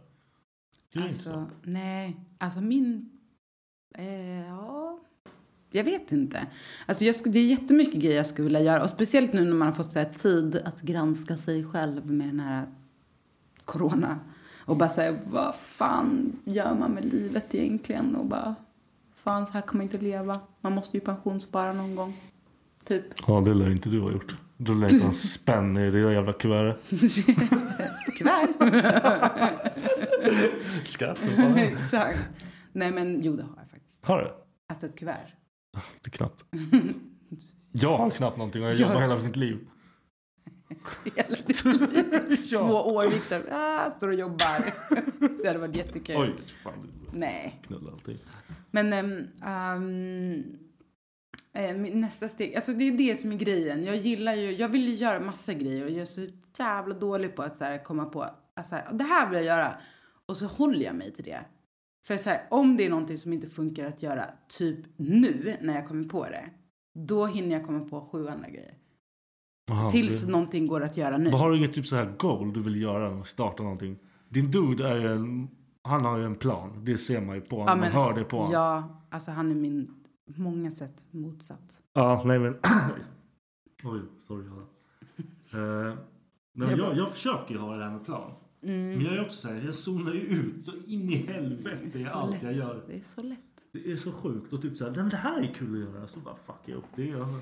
G: Det är inte så.
F: Alltså, nej. Alltså min... Eh, ja. Jag vet inte. Alltså jag skulle, det är jättemycket grejer jag skulle vilja göra. Och speciellt nu när man har fått så här tid att granska sig själv med den här corona. Och bara säga, vad fan gör man med livet egentligen? Och bara, fan så här kommer jag inte leva. Man måste ju pensionsspara någon gång. Typ.
G: Ja, det lär inte du ha gjort. Du lär inte ha en spänn i det där jävla kuvertet.
F: Kuvert.
G: Skatt. vad fan är det?
F: Exakt. Nej men jo, det har jag faktiskt.
G: Har du?
F: Alltså ett kuvert.
G: Det är knappt. Jag har knappt någonting och jag
F: Jag-
G: jobbar hela mitt liv.
F: Hela ditt liv. Två år, Viktor. Ah, står och jobbar. Så det hade varit jättekul.
G: Oj, fan. du
F: Nej.
G: Knullar allting.
F: Men ehm, ehm, eh, min nästa steg, alltså det är det som är grejen. Jag gillar ju, jag vill ju göra massa grejer och jag är så jävla dålig på att så här komma på, alltså här, det här vill jag göra. Och så håller jag mig till det. För så här, om det är någonting som inte funkar att göra typ nu när jag kommer på det, då hinner jag komma på sju andra grejer.
G: Aha,
F: Tills
G: det-
F: någonting går att göra nu.
G: Vad har du inget typ så här goal du vill göra? Starta någonting? Din dude är ju en, han har ju en plan. Det ser man ju på honom. man hör det på honom. Ja.
F: Ja, alltså han är min på många sätt motsatt.
G: nej men. Oj, sorry. Hanna. Eh, nej, men jag, jag försöker ju ha det här med plan.
F: Mm.
G: Men jag är också så här, jag zonar ju ut så in i helvete i
F: så
G: allt
F: lätt.
G: jag gör.
F: Det är så lätt.
G: Det är så sjukt. Och typ så här, nej men det här är kul att göra. Så bara fuck jag upp det. Alltså.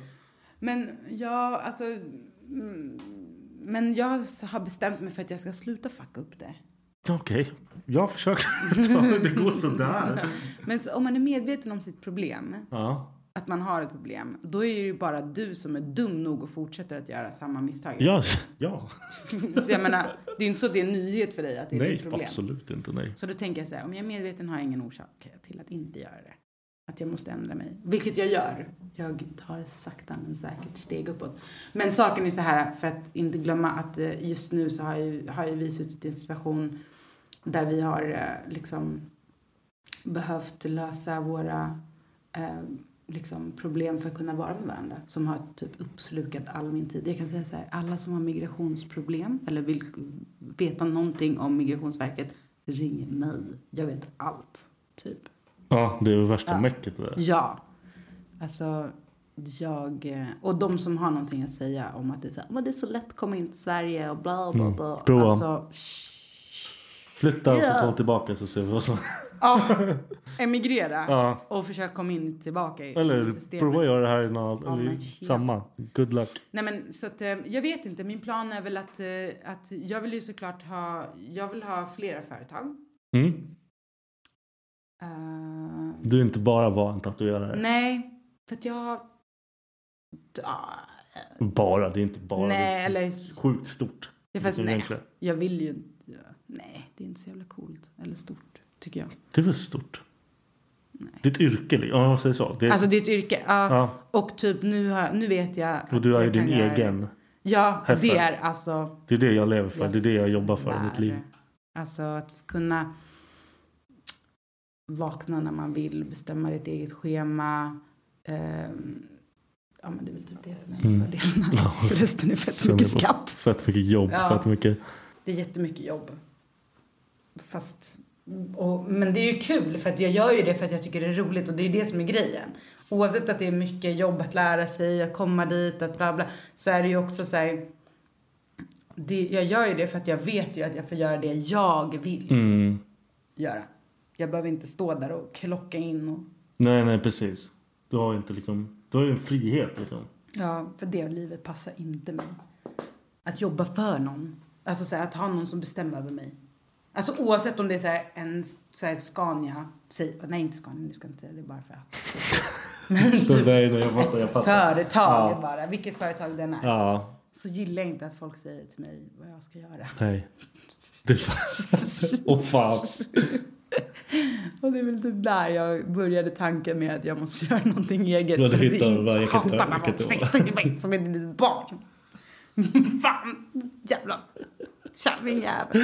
F: Men jag, alltså... mm, Men jag har bestämt mig för att jag ska sluta fucka upp det.
G: Okej, jag försöker ta det. Det går sådär.
F: Men så, om man är medveten om sitt problem,
G: Ja.
F: att man har ett problem, då är det ju bara du som är dum nog och fortsätter att göra samma misstag.
G: Ja, ja.
F: Så jag menar, det är inte så att det är en nyhet för dig att det är ditt
G: Nej,
F: problem.
G: absolut inte nej.
F: Så då tänker jag så här, om jag är medveten har jag ingen orsak till att inte göra det. Att jag måste ändra mig. Vilket jag gör. Jag tar sakta men säkert steg uppåt. Men saken är så här, för att inte glömma att eh, just nu så har ju, har ju vi suttit i en situation där vi har eh, liksom behövt lösa våra eh, liksom problem för att kunna vara med varandra. Som har typ uppslukat all min tid. Jag kan säga så här, alla som har migrationsproblem eller vill veta någonting om Migrationsverket, ring mig. Jag vet allt, typ.
G: Ja, det är ju värsta
F: Ja.
G: mäcket det där.
F: Ja. Alltså, jag... eh, Och de som har någonting att säga om att det är så här, "Men det är så lätt att komma in till Sverige och bla bla
G: Mm.
F: bla.
G: Prova.
F: Alltså, shh.
G: Flytta och
F: Ja.
G: så kom tillbaka så ser vi vad som...
F: Ja, emigrera
G: Ja.
F: och försöka komma in tillbaka i
G: Eller
F: systemet.
G: prova att göra det här i någon,
F: Ja,
G: eller
F: men
G: i
F: tjena.
G: samma. Good luck.
F: Nej men så att, eh, jag vet inte, min plan är väl att, eh, att jag vill ju såklart ha, jag vill ha flera företag.
G: Mm.
F: Eh,
G: Du är inte bara var en tatuerare.
F: nej, för att jag har... Ah,
G: Bara, det är inte bara. det
F: nej,
G: är
F: eller...
G: Sjukt stort.
F: Ja, fast
G: Det är
F: nej.
G: egentligen-
F: Jag vill ju inte... Nej, det är inte så jävla coolt. Eller stort, tycker jag.
G: Det är väl stort? Ditt yrke, liksom. ja säg så. Det är,
F: Alltså, det är ett yrke. Ja.
G: Ja.
F: Och typ nu, har, nu vet jag...
G: och
F: att
G: du är ju
F: jag
G: din
F: kan göra
G: egen.
F: det. Ja,
G: Härför.
F: det är alltså...
G: Det är det jag lever för. det är det jag jobbar för i mitt
F: svär.
G: liv.
F: Alltså att kunna vakna när man vill, bestämma ditt eget schema. Ehm, ja, men det är väl typ det som är
G: Mm.
F: fördelarna.
G: Ja.
F: Förresten är fett
G: Sen är
F: mycket
G: det-
F: skatt.
G: Fett mycket jobb,
F: Ja.
G: fett mycket...
F: Det är jättemycket jobb. Fast, och, men det är ju kul för att jag gör ju det för att jag tycker det är roligt och det är det som är grejen. Oavsett att det är mycket jobb att lära sig, att komma dit, att bla bla. Så är det ju också så här. Det, jag gör ju det för att jag vet ju att jag får göra det jag vill
G: Mm.
F: göra. Jag behöver inte stå där och klocka in och...
G: Nej, nej, precis. Du har ju inte liksom... Du har ju en frihet liksom.
F: Ja, för det livet passar inte mig. Att jobba för någon. Alltså så här, att ha någon som bestämmer över mig. Alltså oavsett om det är så här, en så här, Scania, säg, nej inte Scania, nu ska jag inte säga det bara för att. Men
G: Så,
F: typ
G: nej, nej, jag fattar, jag
F: ett
G: fattar.
F: företag
G: Ja.
F: bara, vilket företag den är.
G: Ja,
F: Så gillar jag inte att folk säger till mig vad jag ska göra.
G: nej. Det Åh fan.
F: Och det är väl typ där jag började tanken med att jag måste göra någonting eget.
G: Ja, det
F: För att
G: hittar
F: är
G: du bara, jag kan inte-
F: hatar när
G: jag kan
F: folk
G: inte vara.
F: säger till mig som är ditt barn. Fan, jävla kärringjävel.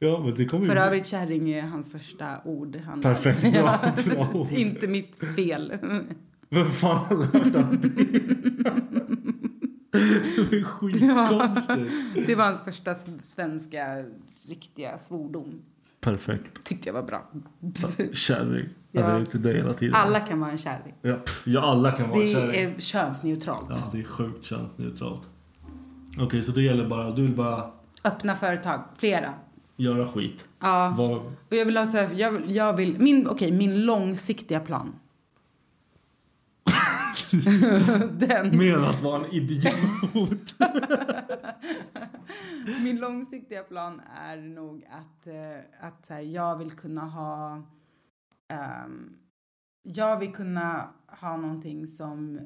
G: Ja, men det kommer ju...
F: För övrigt kärring är hans första ord. Han
G: Perfekt, bra, bra ord.
F: inte mitt fel.
G: Vem fan hade hört om det? Det är skitkonstigt.
F: Det var hans första s- svenska riktiga svordom.
G: Perfekt.
F: Tyckte jag var bra.
G: Kärring.
F: Ja.
G: Alltså, jag är till dig hela tiden.
F: Alla kan vara en kärring.
G: Ja, pff, ja alla kan vara
F: Det
G: kärring.
F: är könsneutralt.
G: Ja, det är sjukt könsneutralt. Okej, så det gäller bara... Du vill bara
F: Öppna företag, flera.
G: göra skit.
F: Ja.
G: Var,
F: Och jag vill ha så här, jag vill, jag vill min, okej, min långsiktiga plan. Den,
G: mer än att vara en idiot.
F: min långsiktiga plan är nog att, eh, att så här, jag vill kunna ha... ehm, jag vill kunna ha någonting som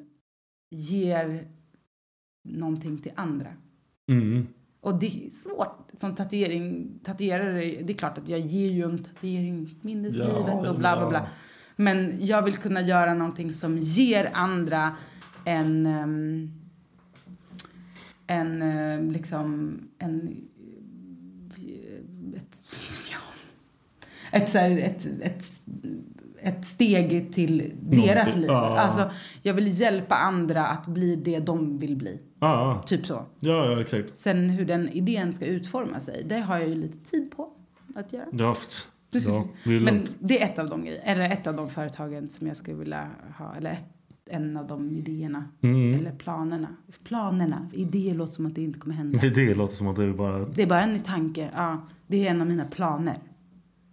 F: ger någonting till andra.
G: Mm.
F: Och det är svårt som tatuering, tatuerare. Det är klart att jag ger ju en tatuering mindre i
G: Ja,
F: livet och bla bla bla.
G: ja.
F: Men jag vill kunna göra någonting som ger andra en... ehm, en ehm, liksom... En, eh, ett, ja, ett, så här, ett, ett, ett steg till deras
G: Någonting,
F: liv.
G: ja.
F: Alltså, jag vill hjälpa andra att bli det de vill bli.
G: Ja,
F: Typ så.
G: ja, ja, exakt.
F: Sen hur den idén ska utforma sig, det har jag ju lite tid på att göra.
G: Ja, pff. ja, det är lugnt.
F: Men det är ett av de grejerna, eller ett av de företagen som jag skulle vilja ha, eller ett, en av de idéerna,
G: Mm.
F: eller planerna. Planerna, idéer låter som att det inte kommer hända.
G: Det, det låter som att du bara...
F: Det är bara en tanke, ja, det är en av mina planer.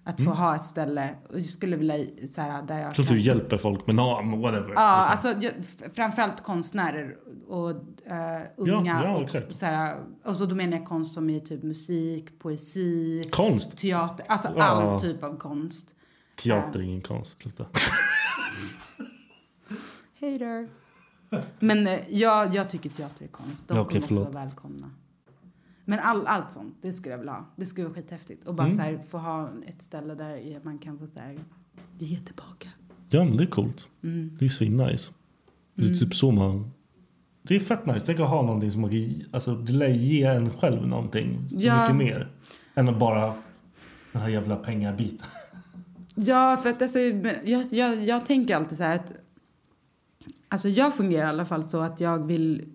F: Att få ha ett ställe, och jag skulle vilja så här, där jag
G: Mm. Så att du hjälper folk med namn, whatever. Liksom.
F: Ja, alltså jag, f- framförallt konstnärer och eh, unga.
G: ja,
F: och,
G: exakt.
F: så här, och så då menar jag konst som är typ musik, poesi,
G: Konst.
F: teater, alltså
G: Ja.
F: all typ av konst.
G: Teater är ingen konst. Sluta.
F: Hater. Men eh, jag, jag tycker teater är konst. De
G: Ja,
F: kommer
G: okej,
F: också vara
G: förlåt.
F: välkomna. Men all, allt sånt, det skulle jag vilja ha. Det skulle vara skithäftigt. Och bara
G: Mm.
F: så här, få ha ett ställe där man kan få så här, ge tillbaka.
G: Ja, men det är coolt.
F: Mm.
G: Det är svinnice. Det är typ så man... Det är fett nice. Tänk att ha någonting som man kan... ge- Alltså, det lär ge en själv någonting. Så
F: Ja.
G: mycket mer. Än att bara... Den här jävla pengabiten.
F: Ja, för att alltså, jag, jag, jag tänker alltid så här att... Alltså jag fungerar i alla fall så att jag vill...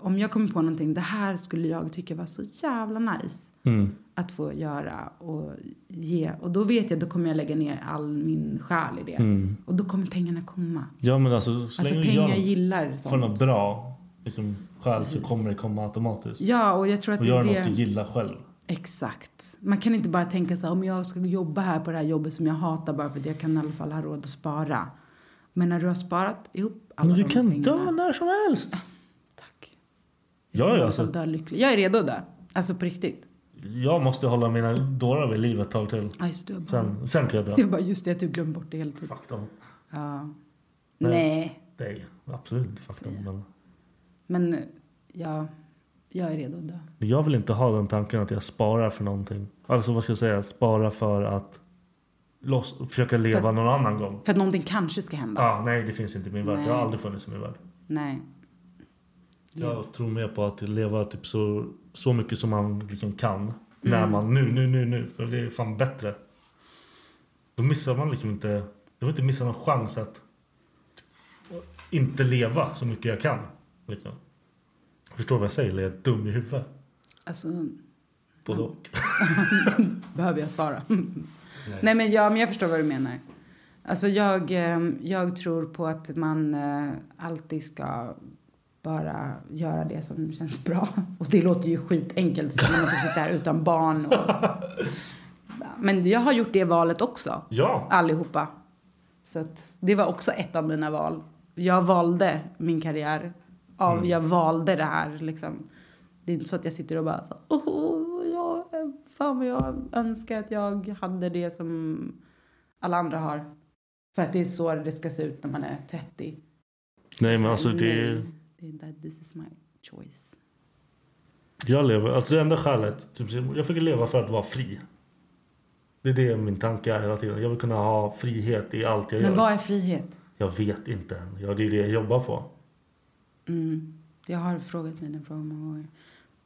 F: Om jag kommer på någonting, det här skulle jag tycka var så jävla nice
G: Mm.
F: att få göra och ge. Och då vet jag, då kommer jag lägga ner all min själ i det. Och då kommer pengarna komma.
G: Ja, men alltså... Mm. Så
F: Alltså
G: länge du gör
F: pengar
G: något
F: gillar
G: för
F: sånt.
G: något bra liksom, själv så
F: Precis.
G: kommer det komma automatiskt.
F: Ja, och jag tror att
G: Och
F: det
G: gör
F: är
G: något du
F: det.
G: gillar själv.
F: Exakt. Man kan inte bara tänka så här, om jag ska jobba här på det här jobbet som jag hatar bara för att jag kan i alla fall ha råd att spara. Men när du har sparat ihop alla
G: Men du
F: de
G: kan
F: pengarna.
G: dö när som helst.
F: Tack.
G: Ja, ja,
F: Jag
G: alltså,
F: dör lycklig. Jag är redo att dö. Alltså på riktigt.
G: jag måste hålla mina dårar vid liv ett tag till.
F: Ja, just det. Jag bara,
G: Sen, sen kan jag dö.
F: jag bara, just det, jag typ glömde bort det hela tiden.
G: Fuck dem.
F: Ja.
G: Nej.
F: Nej,
G: Nej, absolut inte fuck dem. Men
F: men ja, jag är redo att dö.
G: jag vill inte ha den tanken att jag sparar för någonting. Alltså vad ska jag säga? Spara för att loss, försöka leva
F: För-
G: någon annan gång.
F: För att någonting kanske ska hända.
G: Ah, nej, det finns inte i min värld. Det har
F: Nej.
G: aldrig funnits i min värld.
F: Nej. Mm.
G: Jag tror mer på att leva typ så, så mycket som man liksom kan.
F: Mm.
G: När man, nu, nu, nu, nu. För det är fan bättre. Då missar man liksom inte, jag vill inte missa någon chans att inte leva så mycket jag kan. Liksom. Förstår vad jag säger? Eller är jag dum i huvudet?
F: Alltså,
G: Både och.
F: Behöver jag svara? Nej. men, ja, men jag förstår vad du menar. Alltså jag, eh, jag tror på att man eh, alltid ska bara göra det som känns bra. Och det låter ju skitenkelt så när man typ sitter här utan barn. Och... Men jag har gjort det valet också.
G: Ja!
F: Allihopa. Så att det var också ett av mina val. Jag valde min karriär. Av, Jag valde det här liksom. Det är inte så att jag sitter och bara så, oh, jag, fan vad jag önskar att jag hade det som alla andra har. För att det är så det ska se ut när man är 30.
G: Nej men alltså det...
F: Nej, det är där, this is my choice.
G: Jag lever, alltså det enda skälet, typ, jag fick leva för att vara fri. Det är det min tanke är hela tiden. Jag vill kunna ha frihet i allt jag
F: Men
G: gör.
F: vad är frihet?
G: Jag vet inte än. Ja, det är det jag jobbar på.
F: Mm. Jag har frågat mig den frågan många gånger.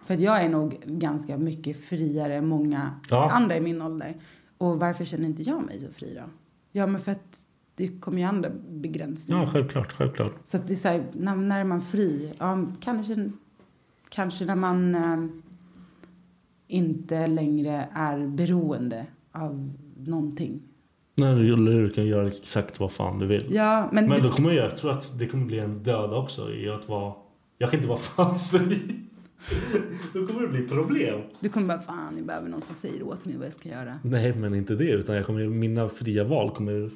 F: För att jag är nog ganska mycket friare än många
G: Ja.
F: andra i min ålder. Och varför känner inte jag mig så fri då? Ja, men för att det kommer ju andra begränsningar.
G: Ja, självklart, självklart.
F: Så att det är så här, när, när är man fri? Ja, kanske, kanske när man eh, inte längre är beroende av någonting.
G: När du gillar hur du kan göra exakt vad fan du vill.
F: Ja, men,
G: Men då kommer jag, jag tror att det kommer bli en döda också i att vara... Jag kan inte vara fan fri. då kommer det bli problem.
F: du kommer bara, fan, jag behöver någon som säger åt mig vad jag ska göra.
G: Nej, men inte det. Utan jag kommer, mina fria val kommer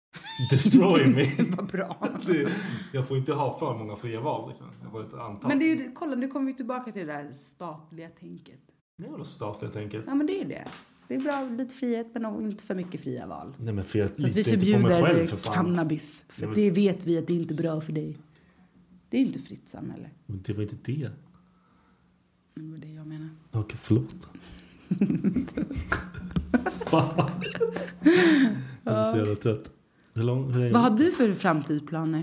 G: destroy me.
F: Det var bra.
G: Det- Jag får inte ha för många fria val. Liksom. Jag får ett antal.
F: Men det är ju, kolla, nu kommer vi tillbaka till det där statliga tänket.
G: Det är väl stat helt enkelt.
F: Ja, men det är det. Det är bra, lite frihet, men nog inte för mycket fria val.
G: Nej men för jag
F: Så att vi
G: litar inte på mig själv
F: förbjuder
G: för fan.
F: cannabis, för
G: Nej, men-
F: det vet vi att det är inte är bra för dig. Det är inte fritt samhälle.
G: Men det var inte det.
F: Det var det jag menar.
G: Okej, förlåt. fan. Jag är så jävla trött. Hur lång, hur länge?
F: Vad har du för framtidsplaner?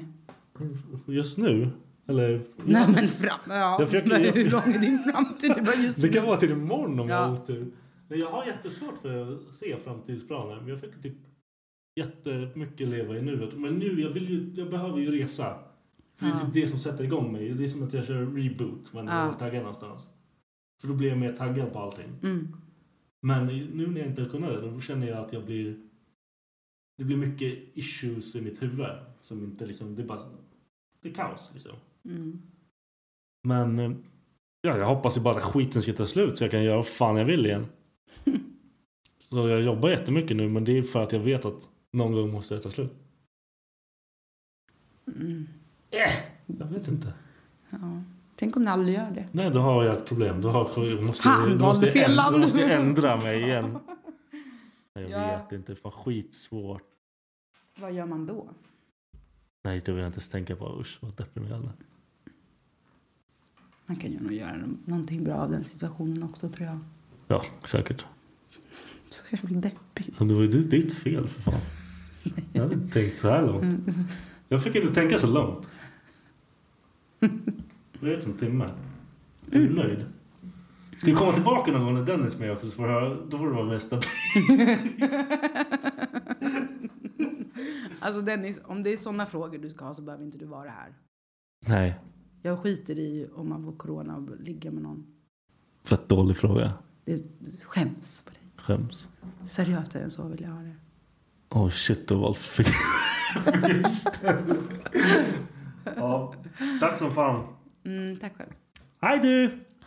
G: Just nu? Eller?
F: Nej, men fram... Ja,
G: Jag försöker- jag-
F: hur lång är din framtid? Det var just
G: Det kan vara till imorgon om jag
F: Ja.
G: har otur. Nej, jag har jättesvårt för att se framtidsplaner. Men jag fick typ jättemycket leva i nuet. Men nu, jag, vill ju, jag behöver ju resa. För det är
F: Ja.
G: typ det som sätter igång mig. Det är som att jag kör reboot när
F: Ja.
G: jag är taggad någonstans. För då blir jag mer taggad på allting.
F: Mm.
G: Men nu när jag inte kunnat det, då känner jag att jag blir... Det blir mycket issues i mitt huvud. Som inte liksom, det är bara... Det är kaos liksom.
F: Mm.
G: Men eh, ja, jag hoppas ju bara att skiten ska ta slut så jag kan göra vad fan jag vill igen. Så jag jobbar jättemycket nu men det är för att jag vet att någon gång måste det ta slut.
F: Mm.
G: Eh, Jag vet inte.
F: Ja. Tänk om ni aldrig gör det.
G: Nej, då har jag ett problem. Då har, jag måste,
F: Fan,
G: jag,
F: valde
G: då måste, jag
F: fel
G: ändra, då
F: land.
G: måste jag ändra mig igen. Jag
F: Ja.
G: vet inte. Fan, skitsvårt.
F: Vad gör man då?
G: Nej, det vill jag inte ens tänka på. Usch, vad deprimerande.
F: Man kan ju nog göra nå- någonting bra av den situationen också, tror jag.
G: Ja, säkert.
F: Så jävla deppig.
G: Men Det var ju ditt fel för fan. Jag hade inte tänkt så här långt. Jag fick inte tänka så långt. Det är en timme. Är
F: Mm.
G: du nöjd? Ska vi komma tillbaka någon gång när Dennis är med också? Så får du höra, då får du vara mest stabil.
F: Alltså Dennis, om det är såna frågor du ska ha så behöver inte du vara här.
G: Nej,
F: Jag skiter i om man får corona och ligga med någon.
G: fett dålig fråga.
F: Det skäms på dig.
G: Skäms.
F: Seriöst än så vill jag ha det.
G: Oh shit, du har valt fel. Just det. Ja, tack som fan.
F: Mm, tack själv.
G: Hej du!